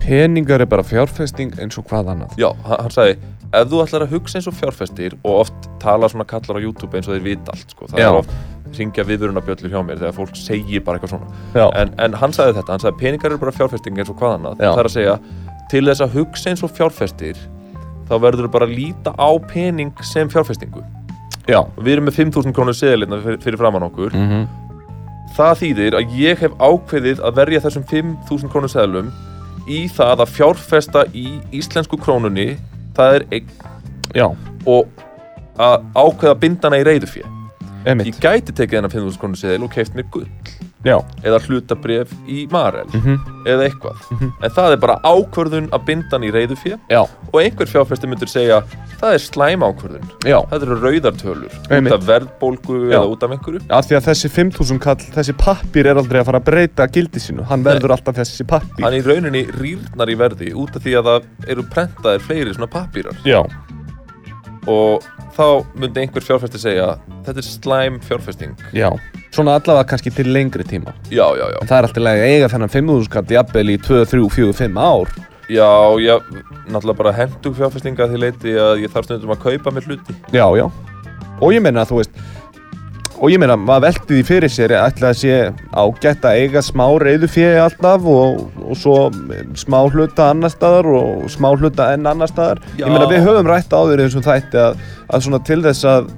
C: Peningar er bara fjárfesting eins og hvað annað.
D: Já, hann, hann sagði ef þú ætlar að hugsa eins og fjárfestir og oft tala svona kallar á YouTube eins og þeir vita allt sko. það
C: Já.
D: er oft ringja viðvörunabjöllur hjá mér þegar fólk segir bara eitthvað svona
C: Já,
D: en, en hann sagði þetta, hann sagði peningar eru bara fjárfesting eins og hvað annað
C: Já.
D: það er að segja, til þess að hugsa eins og fjárfestir þá verður þú bara að líta á pening sem fjárfestingu
C: já.
D: og við erum með 5.000 krónur seðilina fyrir, fyrir framann okkur
C: Mm -hmm.
D: það þýðir að ég hef ákveðið að verja þessum 5.000 krónur seðlum í það að fjárfesta í íslensku krónunni það er eign
C: Já,
D: og að ákveða að binda hana í reyðufjö
C: emitt.
D: ég gæti tekið hennar 5.000 krónu seðil og keift mér gull
C: Já.
D: eða hlutabref í Marel
C: Mhm.
D: eða eitthvað en það er bara ákvörðun að binda hana í reyðufjö
C: Já,
D: og einhver fjárfæsti myndur segja það er slæm ákvörðun
C: já.
D: það eru rauðartölur
C: Einmitt.
D: út af verðbólgu
C: Já.
D: eða út af einhverju
C: Af því að þessi 5000 kall, þessi pappir er aldrei að fara að breyta gildi sínu. Hann verður alltaf þessi pappir.
D: hann í rauninni rýrnar í verði út af því að það eru prentaðir fleiri svona pappýrar
C: Já.
D: og þá myndi einhver fjárfæsti segja þetta er slæm fjárfæsting
C: Já. Svona allavega kannski til lengri tíma.
D: já, já, já
C: En það er alltaf að eiga þennan 5000 kall jafnvel í 2, 3, 4, 5 ár.
D: Já, já, náttúrulega bara hendug fjárfestinga að því leiti að ég þarf stundum að kaupa mér hluti.
C: Já, já. Og ég meina að þú veist, og ég meina maður velti því fyrir sér ætla að sé ágætt að eiga smá reyðu fyrir alltaf og, og svo smá hluta annar staðar og smá hluta enn annar staðar.
D: Já.
C: Ég meina við höfum rætt áður í þessum þætti að, að svona til þess að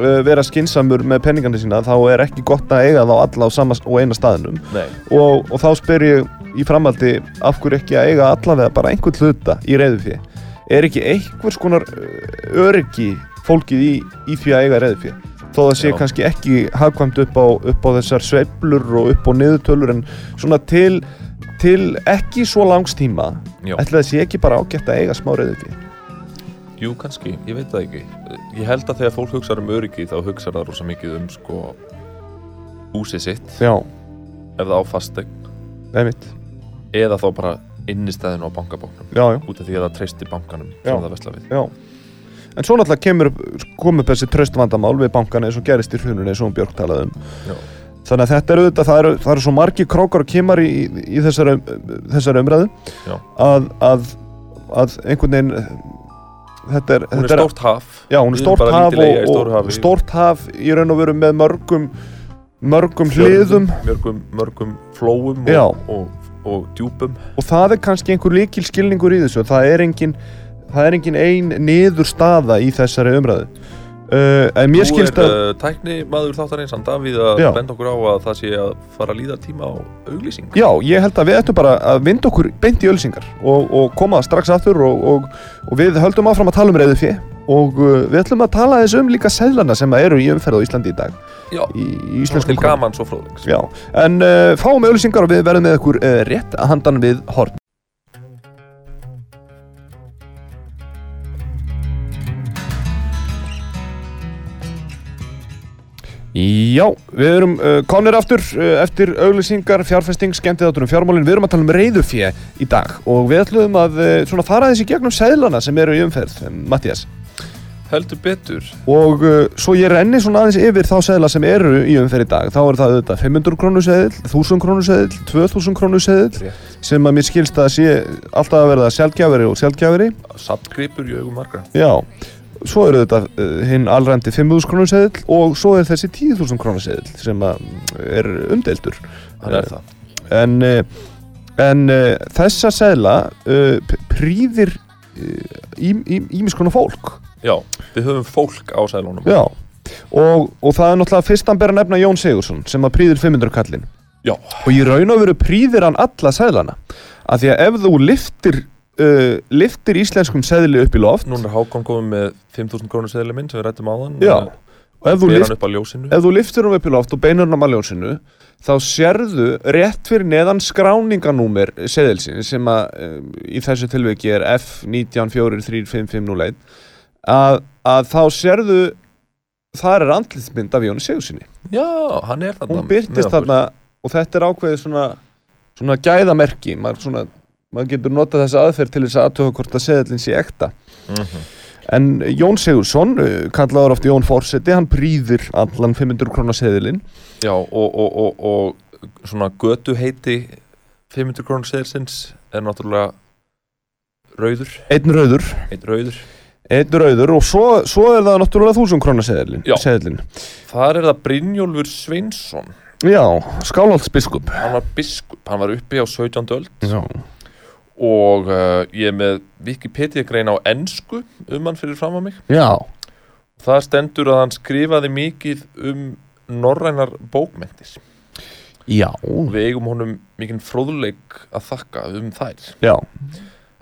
C: uh, vera skinsamur með peningana sína þá er ekki gott að eiga þá alla á sama og eina staðnum
D: Nei.
C: og, og þá spyr ég í framhaldi af hverju ekki að eiga allavega bara einhvern hluta í reyðu fyrir er ekki einhvers konar uh, öryggi fólkið í, í því að eiga reyðu fyrir þó það sé
D: Já.
C: kannski ekki hagkvæmt upp á, upp á þessar sveiflur og upp á niðurtölur en svona til, til ekki svo langs tíma
D: Já.
C: ætli það sé ekki bara ágætt að eiga smá reyðu fyrir
D: Jú, kannski, ég veit það ekki. Ég held að þegar fólk hugsar um öryggi þá hugsar það rosa mikið um, sko, húsið sitt,
C: já,
D: ef það á fastegn,
C: einmitt,
D: eða þá bara innistæðinu á bankabóknum,
C: já, já
D: út af því að það treysti bankanum
C: Já.
D: sem það vesla við.
C: Já. En svo náttúrulega kemur kom upp þessi tröstvandamál við bankana eins og gerist í hruninu eins og hún Björk talaði um.
D: Já.
C: Þannig að þetta eru auðvitað, það eru, það eru svo margi krókar og kemar í, í, í þessari, þessari umræðu
D: Já.
C: að, að, að einhvern veginn eh, þetta er,
D: Hún
C: þetta
D: er stórt haf.
C: já, hún
D: Við
C: er
D: erum
C: stórt
D: bara
C: haf
D: lítil eyja í
C: og,
D: stóru
C: og
D: hafi.
C: stórt haf í raun og veru með mörgum mörgum
D: Fjörðum,
C: hliðum
D: Mörgum, mörgum flóum
C: Já.
D: og, og, og djúpum.
C: og það er kannski einhver líkil skilningur í þessu það er engin, það er engin ein niðurstaða í þessari umræðu uh, en
D: Þú
C: mér
D: er
C: skilst að
D: uh, tækni maður þáttar einsan Davíð að
C: Já.
D: benda okkur á að það sé að fara að líða tíma á auglýsing
C: Já, ég held að við ættum bara að vinda okkur beint í ölsingar og, og koma strax aftur og, og, og við höldum áfram að tala um reyðu fjö og uh, við ætlum að tala aðeins um líka seðlana sem eru í umferð á Íslandi í dag
D: Já,
C: í, í
D: svona
C: íslenskum
D: til
C: krónum.
D: gaman svo fróðings
C: Já, en uh, fáum ölsingar og við verðum með okkur uh, rétt að handan við horn Já, við erum uh, komnir aftur uh, eftir auglýsingar, fjárfesting, skemmtið áttur um fjármálin. Við erum að tala um reyðufjö í dag og við ætlum að uh, svona fara þessi gegnum seðlana sem eru í umferð, um, Mattias.
D: Heldur betur
C: Og uh, svo ég renni svona aðeins yfir þá seðla sem eru í umferð í dag. Þá eru það auðvitað 500 krónu seðil, 1000 krónu seðil, 2000 krónu seðil
D: Rétt.
C: sem að mér skilst að sé alltaf að verða sjálfgjafari og sjálfgjafari.
D: Sattgripur í augum margra
C: Já, svo eru þetta uh, hinn allræmdi 5000 krónu seðil og svo er þessi 10.000 krónu seðil sem að mm, er umdeldur.
D: Hann er það
C: En, eh, en eh, þessa seðla uh, prýðir uh, ímis konar fólk.
D: Já, við höfum fólk á sælunum
C: Já, og, og það er náttúrulega fyrst hann ber að nefna Jón Sigursson sem að prýðir 500 kallin
D: Já,
C: og ég raun og veru prýðir hann alla seðlana af því að ef þú liftir uh, liftir íslenskum seðli upp í loft
D: núna er Hákon komið með 5000 krónu seðli minn sem við rættum á þann
C: Já, og ef þú,
D: Ber hann
C: lift,
D: upp á ljósinu
C: ef þú liftir hann upp í loft og beinar hann að maljónsinu þá sérðu rétt fyrir neðan skráninganúmer seðilsin sem að um, í þessu tilviki er F19435501 að, að þá sérðu þar er andlitsmynd af Jóni Sigursinni
D: Já, hann er þarna
C: hún byrtist
D: með okkur.
C: þarna og þetta er ákveðið svona, svona gæðamerki maður, svona, maður getur notað þessa aðferð til þess að aðtöfa hvort að seðallin sé ekta
D: Mhm.
C: en Jón Sigursson eh, kallaður oft Jón Forseti hann prýðir allan 500 krónar seðilinn
D: Já, og, og, og, og svona götu heiti 500 krónu seðilsins er náttúrulega rauður,
C: einn rauður,
D: eitt rauður
C: einn rauður og svo, svo er það náttúrulega 1000 krónar seðilinn
D: Já.
C: seðillinn.
D: Þar er það Brynjólfur Sveinsson
C: já, skálhaldsbiskup
D: Hann var biskup, hann var uppi á 17. öld
C: já.
D: og uh, ég er með Wikipedia grein á ensku um hann fyrir fram að mig
C: já,
D: Það stendur að hann skrifaði mikið um norrænar bókmyndir
C: já
D: Við eigum honum mikinn fróðleik að þakka um þær
C: já,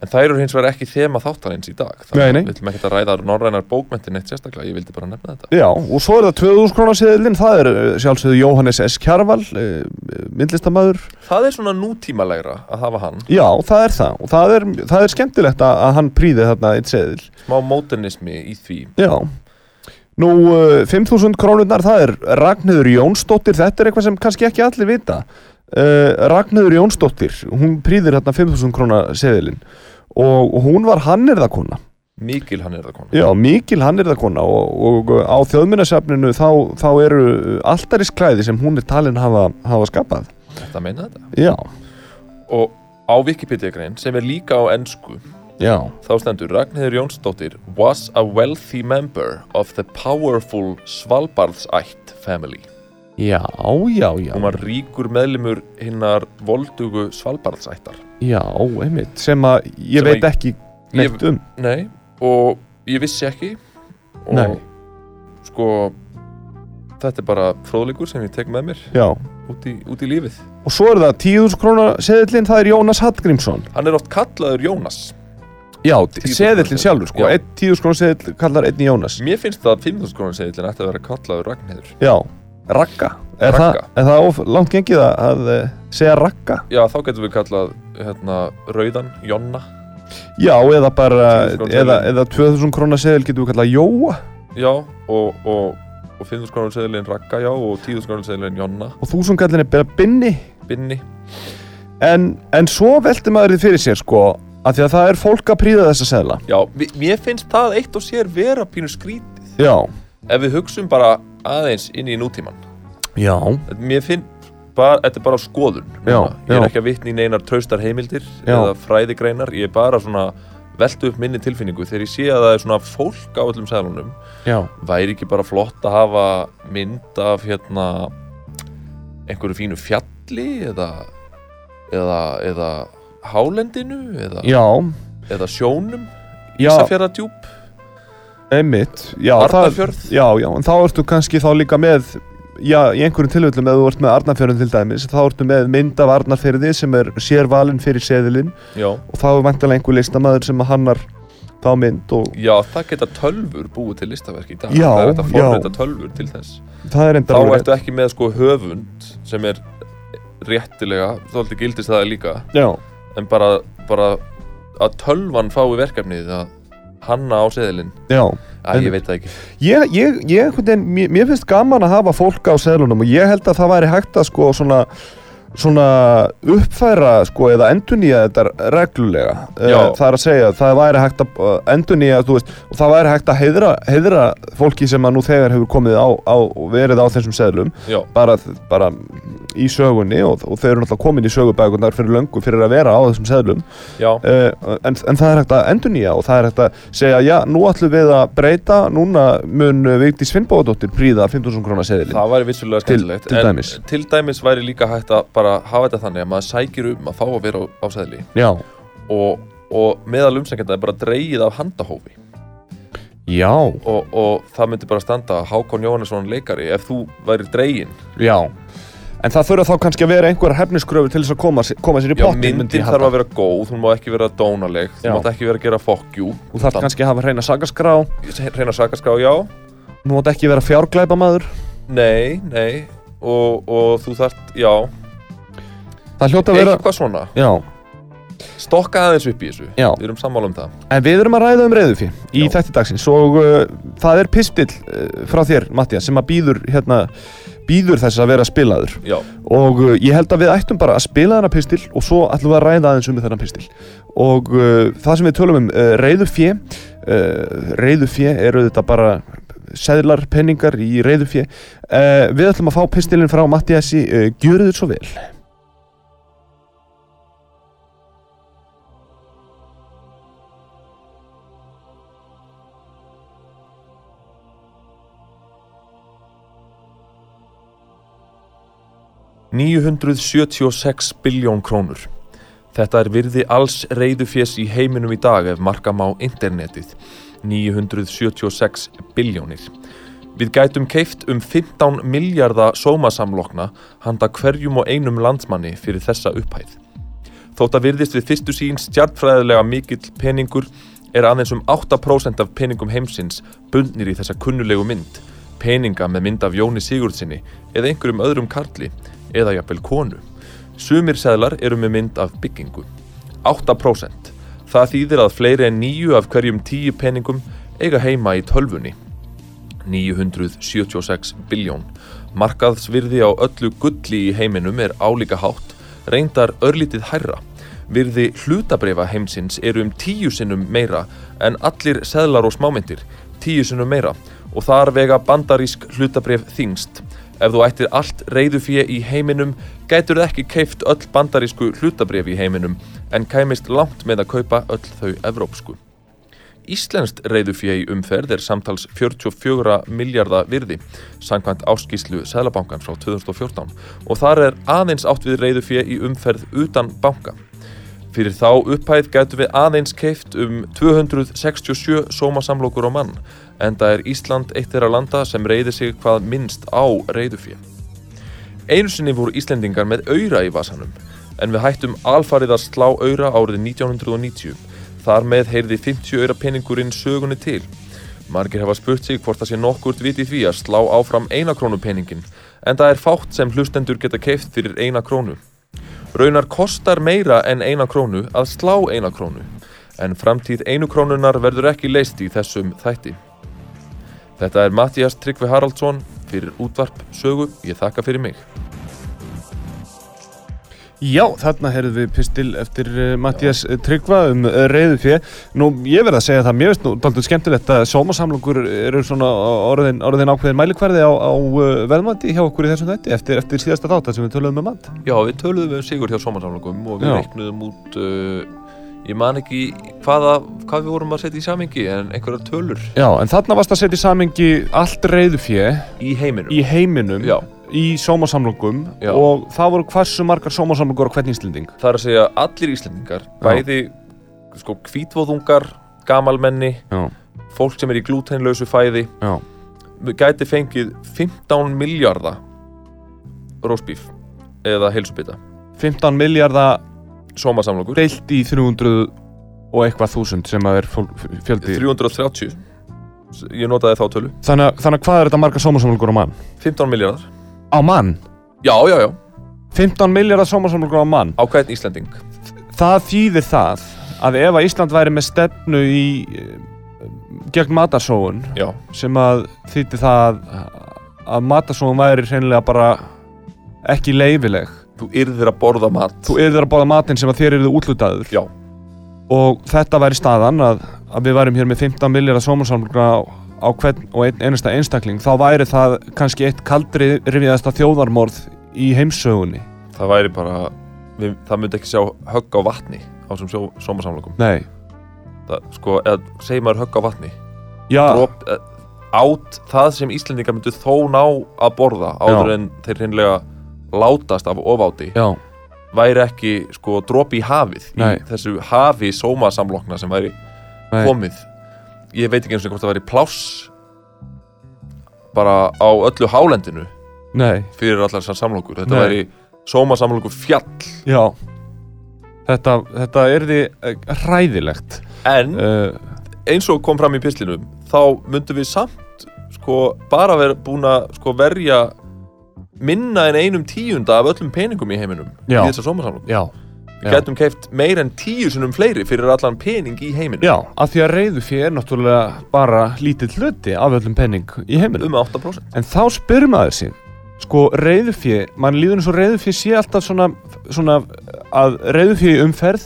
D: En þær eru hins vegar ekki þema þáttarins í dag Það
C: Nei, nei.
D: við ætlum ekki að ræða norrænar bókmyndir neitt sérstaklega Ég vildi bara nefna þetta
C: Já, og svo er það 2000 krónar seðilinn, það er eh, sjálfsögðu Jóhannes S. Kjarval, eh, myndlistamæður
D: Það er svona nútímalegra að hafa hann
C: Já, það er það og það er, það er skemmtilegt að, að hann prýði þarna eitt seðil
D: Smá módernismi í því
C: Já Nú, uh, 5.000 krónurnar, það er Ragnhöður Jónsdóttir, þetta er eitthvað sem kannski ekki allir vita uh, Ragnhöður Jónsdóttir, hún prýðir þarna 5.000 krónar seðilinn og, og hún var hannirðakona
D: Mikil hann er það konar
C: Já, mikil hannirðakona og, og á þjóðminnasafninu þá, þá eru alltarisklæði sem hún er talin hafa, hafa skapað
D: Þetta meina þetta
C: Já,
D: Og á Wikipedia grein sem er líka á ensku
C: já,
D: Þá stendur Ragnhildur Jónsdóttir was a wealthy member of the powerful Svalbardsætt family.
C: já, já, já
D: Hún var ríkur meðlimur hinnar voldugu Svalbardsættar.
C: Já, einmitt, sem að ég
D: Sem
C: veit
D: að-
C: ekki neitt um
D: Nei, og ég vissi ekki. Og
C: Nei.
D: sko, þetta er bara fróðleikur sem ég tek með mér
C: Já,
D: út í, út í lífið.
C: og svo er það 10.000 krónar seðillinn, það er Jónas Hallgrímsson
D: Hann er oft kallaður Jónas.
C: Já,
D: 10.000
C: seðillinn
D: króna
C: sjálfur, sko,
D: seðill. Já.
C: einn 10.000 krónar seðill kallar einn Jónas
D: Mér finnst það að 5.000 krónar segillin ætti að vera kallaður Ragnhildur.
C: Já, ragga Er
D: Ragga.
C: það, er það of, langt gengið að, að eh, segja ragga?
D: Já, þá getum við kallað hérna, Rauðan, Jonna.
C: Já, eða bara,
D: 10.000 króna
C: eða,
D: seðill.
C: eða 2.000 krónar seðill getum við kallað Jóa
D: Já, og, og, og 5.000 krónur seðilinn Ragga, já, og 10.000 krónur seðilinn Jonna,
C: og 1.000 kallin er bara binni
D: Binni.
C: En, en svo velti maður þið fyrir sér, sko að því að það er fólk að príða þessa seðla
D: Já, vi- mér finnst það eitt og sér vera pínu skrítið.
C: Já,
D: Ef við hugsum bara aðeins inn í nútíman.
C: já,
D: Mér finn, bara, þetta er bara skoðun. hérna.
C: Já,
D: ég er
C: já.
D: ekki að vitna í neinar traustar heimildir
C: Já.
D: eða fræðigreinar. Ég er bara svona veltu upp minni tilfinningu þegar ég sé að það er svona fólk á öllum seðlunum.
C: já
D: Væri ekki bara flott að hafa mynd af hérna einhverju fínu fjalli eða eða, eða hálendinu eða
C: Já,
D: eða sjónum
C: já,
D: Ísafjörðardjúp
C: Einmitt, já, það,
D: Arnarfjörð?
C: já, já, en þá ertu kannski þá líka með Já, í einhverjum tilvöldum ef þú ert með Arnarfjörðin til dæmis þá ertu með mynd af Arnarfjörði sem er sérvalinn fyrir seðilinn
D: Já,
C: og þá er vantilega einhver listamaður sem hannar þá mynd og
D: já, það geta tölfur búið til listaverk í dag
C: Já,
D: Það er þetta
C: já.
D: forrita tölfur til þess
C: það er enda
D: Þá
C: alveg
D: ertu ekki með sko höfund sem er réttilega, þú aldrei gildist það líka
C: Já,
D: en bara, bara að tölvan fái verkefnið að hanna á seðilinn
C: já
D: Æ,
C: Einmitt.
D: ég veit það ekki
C: Ég, ég, ég, einhvern veginn, mér, mér finnst gaman að hafa fólk á seðlunum og ég held að það væri hægt að sko svona, svona uppfæra sko eða endurnýja þetta reglulega Eh,
D: Já.
C: það er að segja, það væri hægt að eh, endurnýja, þú veist, og það væri hægt að heiðra, heiðra fólki sem að nú þegar hefur komið á, á og verið á þessum seðlum
D: Já,
C: bara, bara í sögunni og, og þau eru náttúrulega komin í sögubækunar fyrir löngu fyrir að vera á þessum seðlum
D: já,
C: Eh, en, en það er hægt að endurnýja og það er hægt að segja já, nú ætlum við að breyta núna mun eh, Vigdís Finnbóðadóttir príða 15.000 krónar seðilinn
D: það væri vissulega
C: Til-
D: skemmtilegt
C: til dæmis.
D: En til dæmis væri líka hægt að bara hafa þetta þannig að maður sækir um að fá að vera á, á seðli
C: já,
D: og, og meðal umsækjanda er bara dreigið af handahófi
C: já,
D: og, og það myndi bara standa Hákon Jóhannesson leikari ef þú væri dregin
C: já en það þurfa þá kannski að vera einhverjar hefniskröfur til þess að koma, sér- koma sér í
D: Já,
C: pottin
D: myndin þarf að vera góð, hún má ekki vera dónaleg
C: Já.
D: þú mátt ekki vera að gera fokkjú
C: þú þarf kannski að hafa hreina sagaskrá
D: reyna sakaskrá, já
C: þú mátt ekki vera fjárglæpamaður
D: nei, nei og, og þú þarft, já
C: það hljóta að vera
D: eitthvað svona,
C: já,
D: stokka aðeins upp í þessu
C: Já.
D: við erum sammála um það
C: en við erum að ræða um reyðufi í
D: Já.
C: þætti dagsins og uh, það er pistill uh, frá þér, Mattias, sem að býður hérna, býður þess að vera spilaður
D: já,
C: og uh, ég held að við ættum bara að spila þennan pistil og svo ætlum við að ræða aðeins um þennan pistil og uh, það sem við tölum um uh, reyðu fjö uh, reyðu fjö eru þetta bara seðlar, penningar í reyðu fjö uh, við ætlum að fá pistilinn frá Mattiasi uh, gjöru þér svo vel
D: Krónur. 976 biljón krónur. Þetta er virði alls reyðufjés í heiminum í dag ef marka má internetið. 976 biljónir. Við gætum keift um 15 miljarda sómasamlokna handa hverjum og einum landsmanni fyrir þessa upphæð. Þótt að virðist við fyrstu sín stjartfræðilega mikill peningur er aðeins um 8% af peningum heimsins bundnir í þessa kunnulegu mynd, peninga með mynd af Jóni Sigurðsinni eða einhverjum öðrum karli eða jafnvel konu. Sumir seðlar eru með mynd af byggingu. 8%. Það þýðir að fleiri en 9 af hverjum 10 peningum eiga heima í tölvunni. 976 biljón. Markaðsvirði á öllu gulli í heiminum er álíka hátt, reyndar örlítið hærra. Virði hlutabrefa heimsins eru um tíu sinnum meira en allir seðlar og smámyndir, tíu sinnum meira og þar vega bandarísk hlutabref þingst. Ef þú ættir allt reyðufíi í heiminum, gætur það ekki keift öll bandarísku hlutabref í heiminum en kæmist langt með að kaupa öll þau evrópsku. Íslenskt reyðufjö í umferð er samtals 44 miljardar virði, samkvæmt áskýslu Sælabankan frá 2014 og þar er aðeins átt við reyðufjö í umferð utan banka. Fyrir þá upphæð gætu við aðeins keift um 267 sómasamlokur á mann, enda er Ísland eitt þeirra landa sem reyði sig hvað minnst á reyðufjö. Einu sinni voru Íslendingar með auðra í vasanum, en við hættum alfarið að slá auðra árið 1990. Þar með heyrði 50 auðra peningurinn sögunni til. Margir hafa spurt sig hvort það sé nokkurt vit í því að slá áfram eina krónu peningin, en það er fátt sem hlustendur geta keift fyrir eina krónu. Raunar kostar meira en eina krónu að slá eina krónu, en framtíð einu krónunar verður ekki leist í þessum þætti. Þetta er Mattias Tryggvi Haraldsson fyrir útvarp sögu, ég þakka fyrir mig.
C: Já, þarna heyrðum við pistil eftir uh, Mattias uh, Tryggva um uh, reyðu fjö. Nú, ég verð að segja það, mér finnst nú daldur skemmtilegt að sómasamlokur eru svona orðin, orðin ákveðin mælikvarði á, á uh, verðmati hjá okkur í þessum þætti eftir, eftir síðasta þáttar sem við töluðum um mat.
D: Já, við töluðum um sigur hjá sómarsamlökum og við
C: Já.
D: reiknuðum út, uh, ég man ekki hvaða, hvað við vorum að setja í samingi en einhverjar tölur
C: Já, en þarna varst að setja í samengi allt reyðu fjö
D: í heiminum.
C: í heiminum,
D: Já.
C: í sómasamlokum
D: Já.
C: og það voru hversu margar sómasamlokur á hvernig íslending.
D: Það er að segja allir Íslendingar, bæði sko kvítvóðungar, gamalmenni,
C: Já.
D: fólk sem er í glútenlausu fæði
C: Já.
D: gæti fengið 15 miljardar rósbíf eða heilsubita
C: 15 miljardar
D: sómasamlokur
C: deilt í 300 og eitthvað þúsund sem að er fólk, fjöldi
D: 330 ég notaði þá tölu
C: þannig, að- þannig að hvað er þetta marga sómasamlíkur á mann?
D: 15 miljardar
C: Á mann?
D: já, já, já,
C: 15 miljardar sómasamlíkur á mann
D: á hvern Íslending
C: Það þýðir það að ef að Ísland væri með stefnu í eh, gegn matarsóun
D: já,
C: sem að þýtti það að matarsóun væri hreinlega bara ekki leifileg
D: þú yrðir að borða mat
C: þú yrðir að bóða matinn sem að þér eruðu útlutaður
D: Já.
C: og þetta væri staðan að, að við værum hér með 15 miljardar sómasamlíkur á, á hvern og einn einasta einstakling þá væri það kannski eitt kaldri rifiðasta þjóðarmorð í heimsögunni
D: það væri bara, við, það myndi ekki sjá högg á vatni á þessum sómasamlokum
C: Nei,
D: það, sko, eða segir maður högg á vatni
C: já,
D: drop, eh, át það sem Íslendingar myndu þó ná að borða áður
C: Já.
D: en þeir hreinlega látast af ofáti
C: já
D: væri ekki sko dropi í hafið í
C: Nei.
D: þessu hafi sómasamlokna sem væri
C: Nei.
D: komið ég veit ekki eins og hvort það væri pláss bara á öllu hálendinu
C: Nei,
D: fyrir allar þessar samlokur þetta
C: Nei.
D: væri sómasamlokur fjall
C: já Þetta, þetta er því hræðilegt
D: en
C: uh,
D: eins og kom fram í pislinum þá myndum við samt sko, bara vera búin að sko, verja minna en einum tíunda af öllum peningum í heiminum
C: Já.
D: í þessar sómasamlokku.
C: Já,
D: Við gætum keift meir en tíu sinnum fleiri fyrir allan pening í heiminum
C: já Af því að reyðu fyrir er náttúrulega bara lítill hluti af öllum penning í heiminum
D: um 8%
C: En þá spyr maður sig Sko reyðufjö, mann líður eins og reyðufjö sé alltaf svona, svona að reyðufjö umferð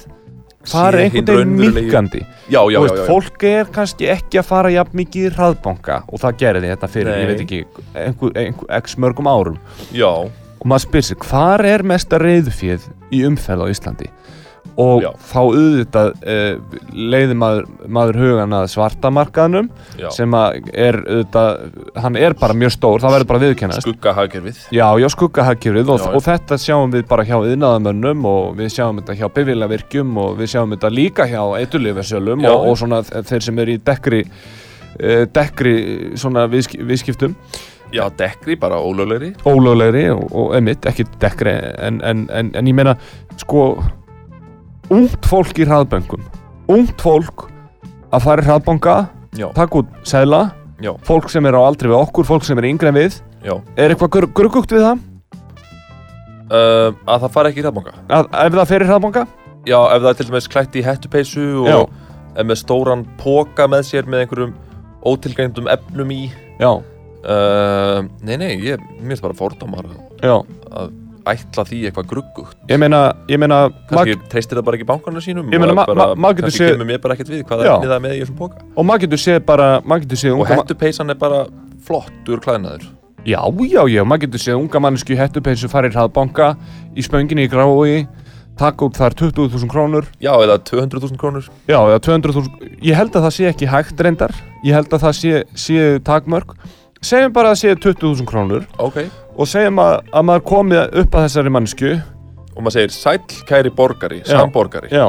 C: það er
D: Sé hinn
C: einhvern veginn
D: raunverulegi-
C: minkandi
D: já, já,
C: Þú
D: já,
C: veist,
D: já, já.
C: fólk er kannski ekki að fara jafn mikið í hraðbanka og það gerði þetta fyrir,
D: Nei.
C: ég veit ekki, einhver, einhver, x mörgum árum
D: já,
C: og maður spyr sig, hvar er mesta reyðufjöð í umferð á Íslandi? Og
D: Já.
C: þá auðvitað uh, leiði maður, maður hugan að svartamarkaðnum
D: já.
C: sem að er auðvitað, hann er bara mjög stór, það verður bara að viðurkennast
D: skuggahagkerfið
C: Já, já, skuggahagkerfið og,
D: Já, já.
C: og þetta sjáum við bara hjá yðnaðamönnum og við sjáum þetta hjá bifilavirkjum og við sjáum þetta líka hjá eitulifasölum
D: Já.
C: og, og svona þ- þeir sem eru í dekkri, eh, dekkri svona viðsk viðskiptum,
D: já, dekri, bara ólöglegri
C: ólöglegri og, og emitt, ekki dekkri en, en, en, en ég meina, sko, ungt fólk í hraðböngum, ungt fólk að fara í hraðbönga,
D: já,
C: taka út sæla,
D: Já.
C: fólk sem er á aldri við okkur, fólk sem er yngre en við,
D: já.
C: er eitthvað gr gruggugt við það,
D: Uh, að það fara ekki í hraðbanka
C: að, ef það fer í hraðbönga?
D: já, ef það er til dæmis klætt í hettupeysu
C: Já.
D: og er með stóran póka með sér með einhverjum ótilgændum efnum í
C: Já,
D: Uh, nei, nei, ég mér finnst bara fordómar að
C: já.
D: ætla því eitthvað gruggugt
C: Ég meina, ég meina, mag,
D: kannski treystir það bara ekki bankarna sínum
C: Ég meina,
D: og
C: ma-
D: bara,
C: ma- maður getur
D: kannski
C: séð-
D: kemur mér bara ekkert við hvað
C: Já.
D: efnið það er með í þessum póka
C: og maður getur séð bara, maður getur séð
D: og
C: unga mann,
D: hettupeysan er bara flott úr klæðnaður
C: já, já, já, maður getur séð unga mannesku hettupeysu farið hraðbanka í spönginni í grái, taka út þar 20.000 krónur,
D: já, eða 200.000 krónur
C: já, eða 200.000, ég held að það sé ekki hægt reyndar, ég held að það sé, sé takmörk, segjum bara að sé 20.000 krónur
D: ok,
C: og segjum að, að maður komið upp að þessari mannesku,
D: og maður segir sæll kæri borgari,
C: Já.
D: samborgari
C: já,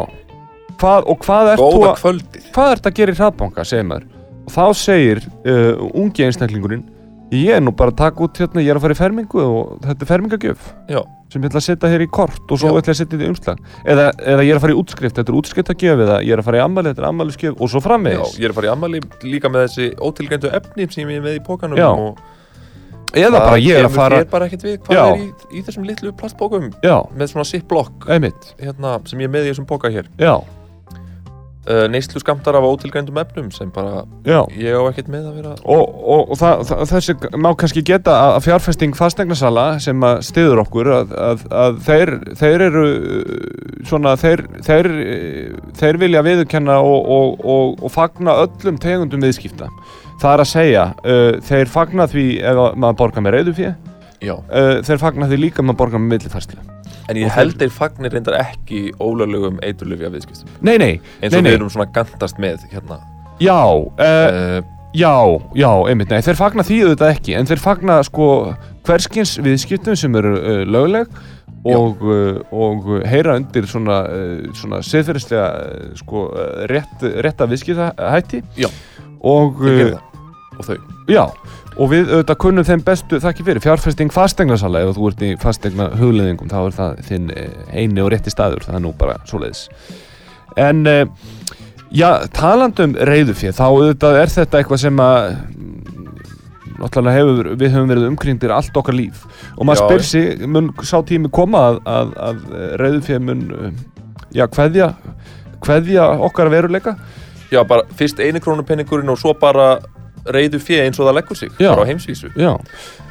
C: hvað, og hvað ert þú
D: góða
C: að,
D: kvöldið
C: hvað ert að gera í hraðbanka, segir maður og þá segir uh, ungi einstaklingurinn ég er nú bara að taka út hérna, ég er að fara í fermingu og þetta er fermingagjöf
D: Já.
C: sem ég ætla að setja hér í kort og svo
D: Já.
C: ætla ég að setja þetta í umslag eða, eða ég er að fara í útskrift, þetta er útskriftagjöf eða ég er að fara í ammali, þetta er ammaliðsgjöf og svo
D: já,
C: framvegis
D: ég er að fara í ammali líka með þessi ótilgændu efni sem ég er með í pókanum
C: Já.
D: og
C: eða bara ég er að
D: kemur
C: fara
D: þér bara ekkert við hvað
C: Já.
D: er í, í þessum litlu plastpókum
C: já,
D: með svona ziplock
C: einmitt,
D: hérna, sem ég er með í þessum póka hér
C: já,
D: uh, neyslu skamtar af ótilgændum efnum sem bara
C: já
D: ég á ekkert með að vera
C: og, og, og það, það, þessi má kannski geta að að fjárfesting fastegnasala sem að stiður okkur að, að, að þeir, þeir eru uh, svona, þeir, þeir, uh, þeir vilja viðurkenna og, og, og, og fagna öllum tegundum viðskipta það er að segja, uh, þeir fagna því ef að maður borgar með reyðu fyrir
D: já.
C: uh, þeir fagna því líka ef maður borgar með millifærslu
D: en ég held þeir fagnir reyndar ekki ólöglegum eiturlöfja viðskiptum
C: nei, nei,
D: eins
C: nei,
D: og
C: nei,
D: við erum svona gantast með hérna
C: já uh,
D: uh,
C: Já, já, einmitt, nei, þeir fagna því auðvitað ekki en þeir fagna sko hverskins viðskiptum sem eru uh, lögleg og, uh, og heyra undir svona, eh, uh, svona siðferðislega uh, sko, uh, rétt, rétta viðskiptahætti
D: Já.
C: og,
D: Þeir
C: uh,
D: gera það. og þau
C: já, og við auðvitað kunnum þeim bestu þakki fyrir, fjárfesting fastegnasala ef þú ert í fastegna hugleðingum þá er það þinn eh, eini og rétti staður það er nú bara svoleiðis en eh, já, talandum reyðufið, þá auðvitað er þetta eitthvað sem að mm, náttúrulega hefur, við höfum verið umkringdir allt okkar líf og maður
D: Já,
C: spyr sig mun sá tími koma að, að, að reyðufið mun eh, já, hverja hverja okkar veruleika
D: já, bara fyrst einu krónupenningurinn og svo bara reyðu fjö eins og það leggur sig
C: Já.
D: bara á heimsvísu
C: Já,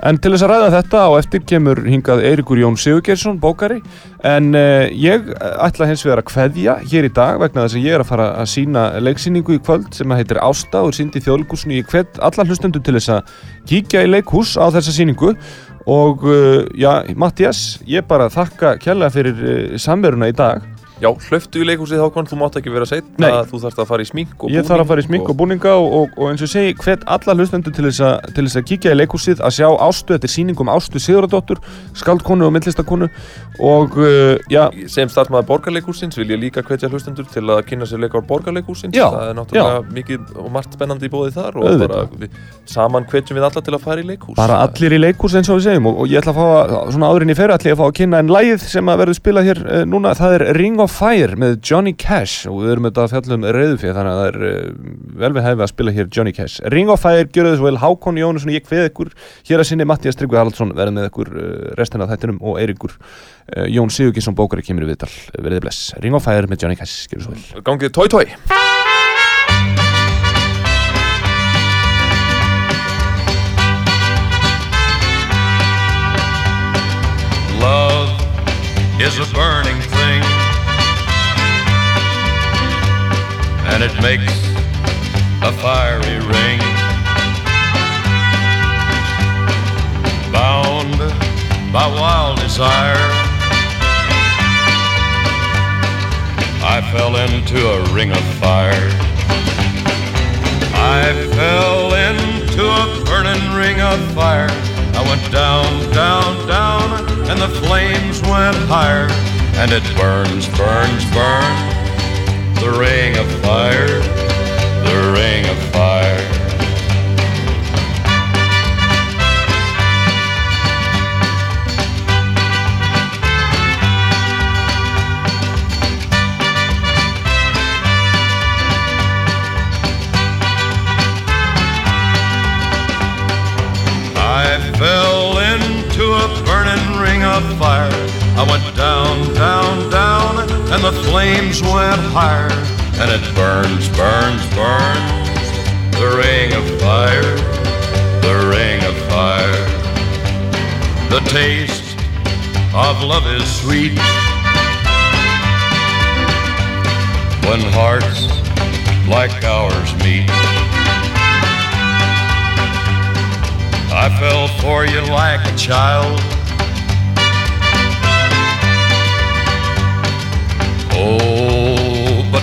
C: en til þess að ræða þetta á eftir kemur hingað Eiríkur Jón Sigurgeirsson, bókari en uh, ég ætla hins vegar að kveðja hér í dag vegna þess að ég er að fara að sína leiksýningu í kvöld sem að heitir Ásta og er sýnd í þjóðleikúsinu ég kveð alla hlustendur til þess að kíkja í leikhús á þessa sýningu og uh, já, Mattias, ég bara þakka kjærlega fyrir uh, samveruna í dag
D: já, hlöftu í leikhúsið þá konn, þú mátt ekki vera seitt
C: Nei.
D: þú þarfst að fara í smink og
C: Ég
D: búning
C: þarf að fara í smink og búninga og, og, og eins og ég segi hvet alla hlustendur til þess, að, til þess að kíkja í leikhúsið að sjá ástu, þetta er sýning um ástu Sigurðardóttur, skaldkonu og myndlistakonu og uh, já,
D: sem starfmaður borgarleikúsins vil ég líka hvetja hlustendur til að kynna sér leikar borgarleikúsins
C: Já,
D: það er náttúrulega mikið og margt spennandi í bóði þar og
C: Auðvitað.
D: bara við, saman hvetjum við alla til að fara í leikús
C: bara allir í leikhús eins og við segjum og, og ég ætla að fá að, svona áðurinn í ferri, ætla ég að fá að kynna en lagið sem að verður spilað hér uh, núna, það er Ring of Fire með Johnny Cash og við erum þetta að fjalla um reyðufið þannig að það er uh, vel við hefði að spila hér Johnny Cash. Ring of Fire, gjöru þess vel Hákon Jónusson, ég kveð ykkur hér að sinni Mattias Tryggvi Haraldsson verði með ykkur uh, restina af þættinum og Eiríkur uh, Jón Sigurkinsson bókari kemur í viðtal verðið bless. Ring of Fire með Johnny Cash, gjöru svo vel.
D: gangið tói tói
I: Love is a burning thing, and it makes a fiery ring. Bound by wild desire, I fell into a ring of fire. I fell into a burning ring of fire. I went down, down, down, and the flames went higher. And it burns, burns, burns. The ring of fire, the ring of fire. I fell into a burning ring of fire. I went down, down, down, and the flames went higher. And it burns, burns, burns. The ring of fire, the ring of fire. The taste of love is sweet. When hearts like ours meet. I fell for you like a child. Oh, but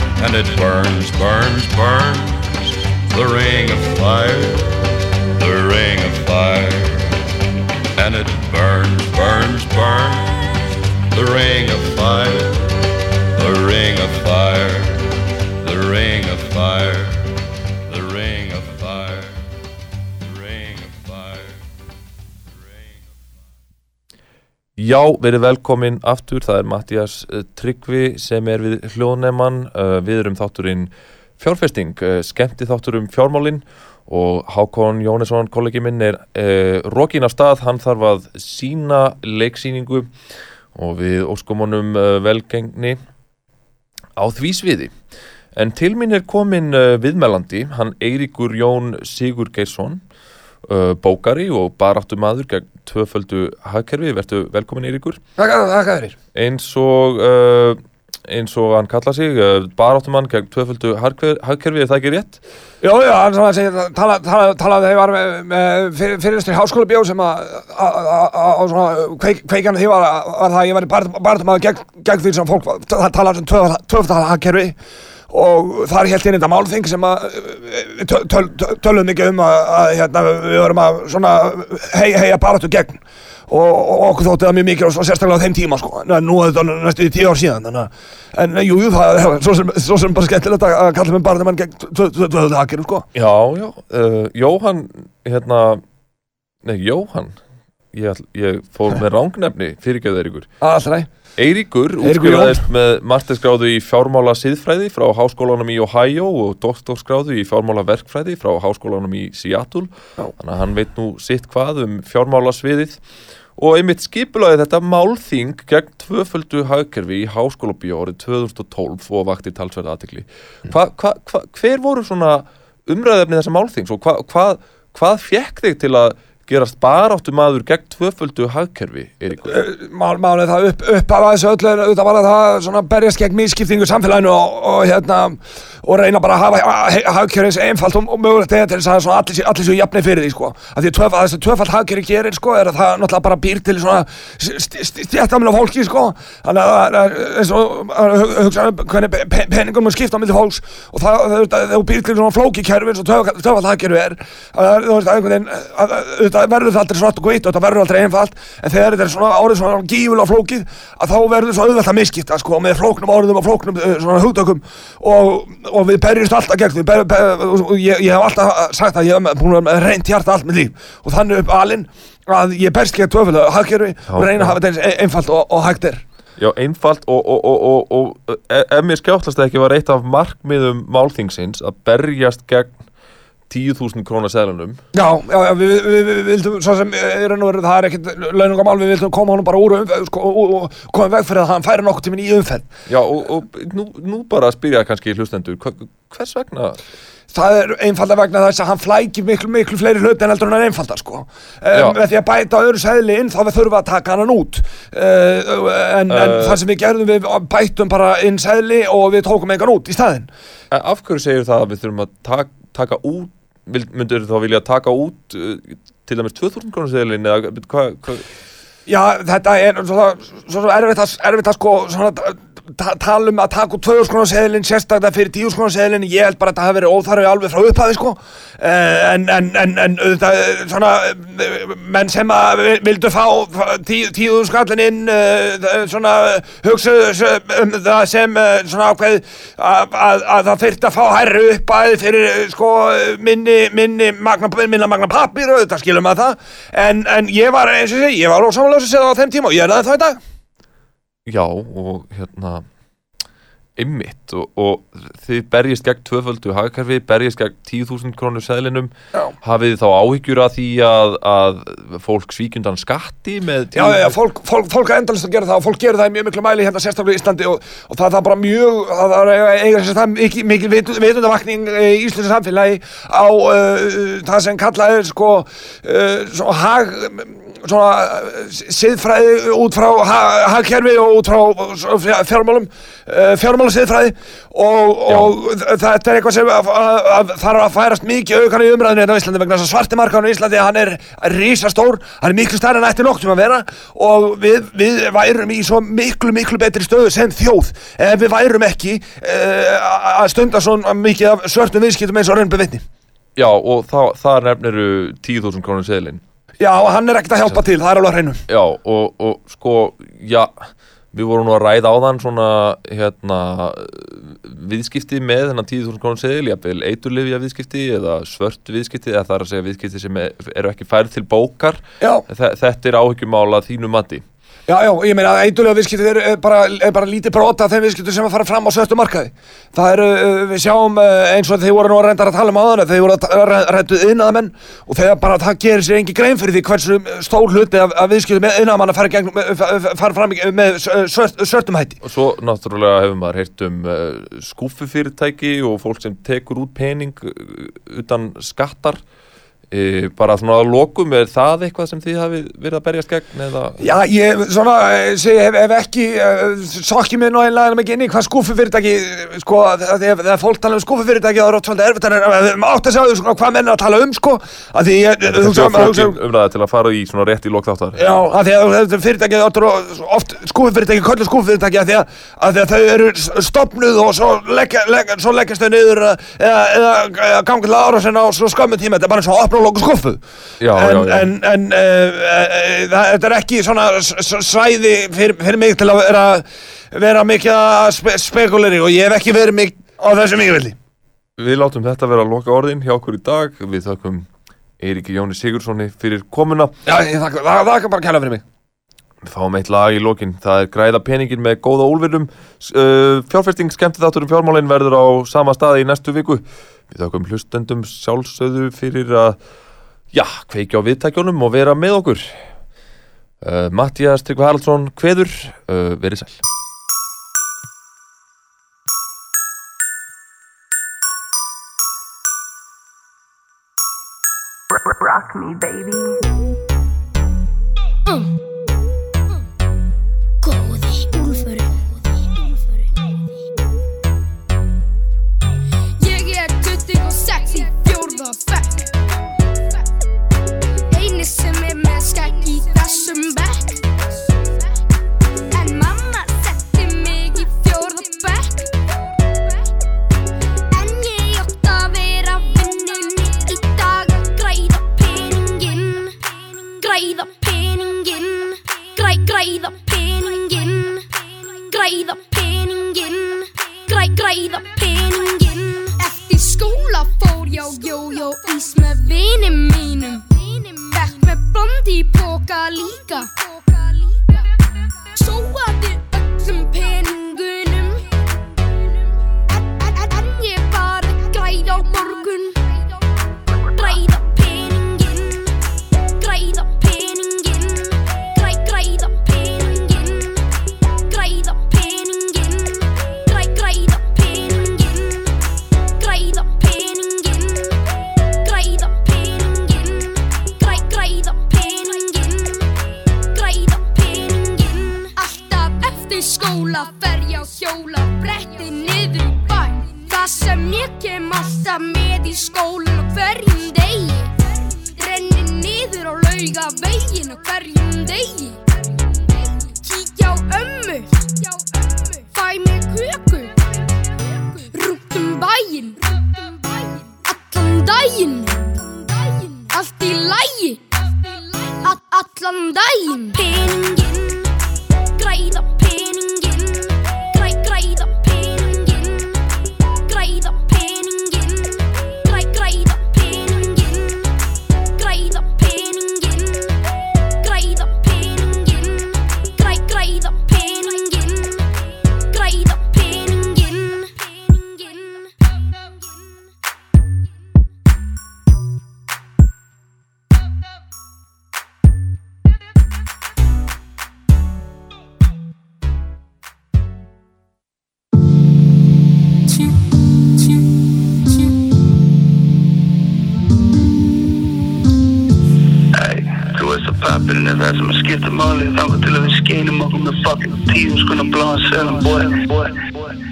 I: And it burns, burns, burns. The ring of fire, the ring of fire. And it burns, burns, burns. The ring of fire, the ring of fire, the ring of fire, the ring of fire, the ring of fire.
D: Já, verið velkomin aftur, það er Mattias eh, Tryggvi sem er við hljóðneman, Eh, við erum þátturinn fjárfesting, eh, skemmti þáttur um fjármálin og Hákon Jónesson, kollegi minn, er uh, rokin af stað, hann þarf að sína leiksýningu og við óskum honum uh, velgengni á því sviði. En til mín er komin uh, viðmelandi, hann Eiríkur Jón Sigurgeirsson, uh, bókari og baráttumadur gegn tvöföldu hagkerfi, vertu velkomin Eiríkur
J: Þakka þér
D: eins og uh, eins og hann kalla sig, eh, baráttumann gegn tvöföldu hagker- hagkerfi, er það ekki rétt?
K: Jó, já, hann sem að segja, tala, tala, tala þegar ég var með, með fyr- fyrirlestri háskóla bjó sem að á svona kveik, kveikan því var, var það að ég væri barndamaður gegn, gegn því sem fólk var- það talaði um tvöftalhagkerfi og þar held inn þetta málþing sem að eh, við töl, töl, tölum mikið um að, að hérna, við vorum að svona hei, heia baráttu gegn og, og okkur þótti það mjög mikið og svo sérstaklega á þeim tíma sko, en nú er þetta næstu í tíu ár síðan þannig að, en jú, jú, það er svo sem, svo sem bara skemmtilegt að að kalla með barðamann gegn tvöðu hakir, sko
D: Já, já, uh, Jóhann, hérna, nei, Jóhann, ég, ætl, ég fór með rángnefni, fyrirgjöðu Eiríkur.
K: allra,
D: Eiríkur
K: Eiríkur
D: útskrifaðist með martinsgráðu í fjármála síðfræði frá háskólanum í Ohio og doktorsgráðu í fjármála verkfræði frá háskólanum í Seattle þannig að hann veit nú sitt hvað um fjármála sviðið og einmitt skipulaði þetta málþing gegn tvöföldu hagkerfi í háskólabíu árið 2012 og vakti talsverða aðtekli hva, hva, hva, hver voru svona umræðefni þessa málþings og hva, hva, hvað fekk þig til að gerast baráttu maður gegn tvöföldu hagkerfi, Eiríkur?
K: mál, málið það upp, upp af þessu öllu er auðvitað bara það svona berjast gegn miskiptingu í samfélaginu og, og hérna og reyna bara að hafa hagkjörins einfalt og, og mögulegt eða til þess að svona allir, séu- allir svo jafni fyrir því sko að því að tvöf, að þessu tvöfald hagkjöri gerir sko er að það náttúrulega bara býr til svona stjættamil á fólki sko þannig að það er eins og að hu- hugsa um hvernig pe- pe- peningum er skipt á milli fólks og það, það, það, það býr til svona flóki kerfi eins og tvöfald hagkjöri er að það er, þú veist, að einhvern veginn að- að- auðvitað verður það aldrei svart og hvitt og þetta verður aldrei einfalt en þegar þetta er svona árið svona gífulega flókið að þá verður svo auðvitað að miskipta sko með flóknum orðum og flóknum eh, svona hugtökum og, og við berjumst alltaf gegn því ber, ber, og og ég, ég hef alltaf sagt að ég hef búin að vera reynt hjarta allt með líf og þannig upp alinn að ég berst gegn tvöfjölu hagkerfi og reyna að hafa þetta eins einfalt og, og hægt er
D: Já, einfalt og, og, og, og, og e- ef mér skjáttlast ekki var eitt af markmiðum málþingsins að berjast gegn 10.000 krónar seðlunum
K: Já, já, já, við, við, við, við vildum, svo sem eh, í raun og veru, það er ekkert launungamál, við vildum koma honum bara úr og, umferð, sko, og, og koma í veg fyrir að hann færi nokkuð tíminn í umferð.
D: Já, og, og nú, nú bara að spyrja kannski hlustendur, hva- hvers vegna?
K: það er einfalda vegna þess að hann flækir miklu, miklu fleiri hluti en heldur hann er einfalda sko. Um, með því að bæta öðru seðli inn þá við þurfum að taka hann út uh, en, en
D: Eh.
K: það sem við gerðum við bættum bara inn seðli og við tókum engan út í staðinn
D: E- Af hverju segir það að við þurfum að tak, taka út, vil- myndur þá vilja taka út uh, til dæmis 2.000 krónar seðlin eða hvað, hva,
K: Já, þetta er svo, svo, svo erfitt að, erfitt að sko svona, ta tala um að taka út 2 skona seðilinn sérstaklega fyrir 10 skona seðilinn ég held bara að það hafi verið óþarfi alveg frá upphafi sko Eh, en, en, en, en auðvitað, eh, svona eh, menn sem að vi- vildu fá 10 tí, skallin inn eh, eh, svona eh, hugsuðu s- um það sem eh, svona ákveð að, að, að það þurfti að fá hærri uppæði fyrir eh, sko eh, minni, minni magna, minna magna pappir og auðvitað skilum að það en, en ég var eins og sé, ég var ósamlega sem það á þeim tíma og ég er aðeins það í dag
D: já og hérna ymmit og, og þið berjist gegn tvöföldu hagkerfi, berjist gegn 10.000 krónur seðlinum
K: Já.
D: hafið þið þá áhyggjur af því að, að fólk svíkjundan skatti með
K: Já, já, já, fólk, fólk, fólk er endalist að gera það og fólk gerir það í mjög miklu mæli hérna sérstaklega í Íslandi og, og það, það er bara mjög, það það er eiga sér það mikil, mikil vitu- vitundavakning eh, í Íslands samfélagi á uh, það sem kallað er sko uh, svona hag svona eh, siðfræði út frá ha, hagkerfi og út frá svo fjár- fjármálum uh, fjármála siðfræði og, og þ- þetta er eitthvað sem að- að- að þarf að færast mikið aukan í umræðinu hérna á Íslandi vegna þess að svarti markaðan á Íslandi hann er risastór, hann er miklu stærri en ætti noktum að vera og við, við værum í svo miklu, miklu betri stöðu sem þjóð ef við værum ekki uh, að stunda svona mikið af svörtum viðskiptum eins og raun bevitni
D: Já, og þá, þar nefniru 10.000 krónur seðlin
K: Já, hann er ekkert að hjálpa til, það er alveg að hreinu
D: Já, og, og sko, já við vorum nú að ræða á þann svona hérna viðskipti með þennan 10.000 krónur seðil jafnvel eiturlifja viðskipti eða svört viðskipti eða það er að segja viðskipti sem er, eru ekki færð til bókar
K: Já.
D: Þe- Þetta er áhyggjumála þínu mati
K: Já, já, ég meina að eitulega viðskiptið er, er, bara, er bara lítið brota af þeim viðskiptið sem að fara fram á svörtu markaði. Það eru, uh, við sjáum uh, eins og þeir voru nú að reyndar að tala um áðan, þeir voru að reyndu yðnaðamenn og þegar bara það gerir sér engin grein fyrir því hversu stór hluti af, af viðskiptið með yðnaðamann að fara, gegn, fara fram í- með eh, svört, svörtum hætti.
D: Og svo náttúrulega hefur maður heyrt um uh, skúfufyrirtæki og fólk sem tekur út pening uh, utan eh, skattar e, bara svona að lokum, er það eitthvað sem þið hafið verið að berjast gegn eða
K: Já, ég svona, eh, segi, ef, ef ekki, eh, sokki mig nú einlega mikið inn í hvað skúfufyrirtæki, eh, sko, þegar, þegar fólk tala um skúfufyrirtæki þá er oft svolítið erfitt að eh, reyna- átt að segja sko, hvað menn er að tala um, sko, að því ég, um-
D: Þetta er svo flókin umræða til að fara í svona rétt í lok þáttar
K: Já, að því að þetta fyrirtæki oft, oft skúfufyrirtæki, köllu skúfufyrirtæki að því að, að, því að þau eru stopnuð og svo, leggja, leggja, svo leggjast þau niður eða, eða, eða, eða gangi til árásin á svo skömmu tíma, þetta er bara eins og opna og lóka skúfu
D: Já, já,
K: en,
D: já.
K: en, en uh, uh, það, þetta er ekki svona s- s- svæði fyrir, fyrir mig til að vera, vera mikið að spe, spekuleri og ég hef ekki verið mikið á þessu mikið villi
D: Við látum þetta vera að loka orðin hjá okkur í dag Við þakkum Eiríki Jóni Sigurssoni fyrir komuna
K: Já, ég þakka, það, það kan bara kæla fyrir mig
D: Við fáum eitt lag í lokin Það er græða peningin með góða úlverðum uh, Fjárfesting skemmti þáttur um fjármálin verður á sama staði í næstu viku Við þakkum hlustendum sjálfsöðu fyrir að Já, kveikja á viðtækjónum og vera með okkur uh, Mattias Tryggvi Haraldsson Kveður, uh, verið sæl
L: Rock me, baby.
B: Góði úlfur Ég er 26 í fjórða bekk Einu sem er með skæk í þessum bekk En mamma setti mig í fjórða bekk En ég átt að vera vinnunni í dag að græða peninginn Græða peninginn Græ, græða peninginn Græða peninginn Græ, græða peninginn Eftir skóla fór ég á jójó ís með vinum mínum Fekk með blandi í boka líka Sóaði öllum peningunum En- en- en- en ég var að græða á morgun. Græða peninginn, græða peninginn, græ- græða peninginn, græða peninginn, græ- græða peninginn, græða peninginn, græða peninginn, græ- græða peninginn, græða peninginn. Alltaf eftir skóla fer ég á hjóla bretti niður í bæ Það sem ég kem alltaf með í skólan á hverjum degi Renni niður á lauga vegin á hverjum degi Kíkja á ömmu Fæ mig köku Rúnt um bæinn Allan daginn Allt í lægi Allan daginn Peninginn græða peninginn græ, græða peninginn græða peninginn græ, græða peninginn græða peninginn græða peninginn græ, græða peninginn græða peninginn
F: Æ, þú veist að pappirinn er það sem að sko, skipta máli Þangar til að við skeinum okkur með fucking tíu skoðum bláðan selum boy, boy, boy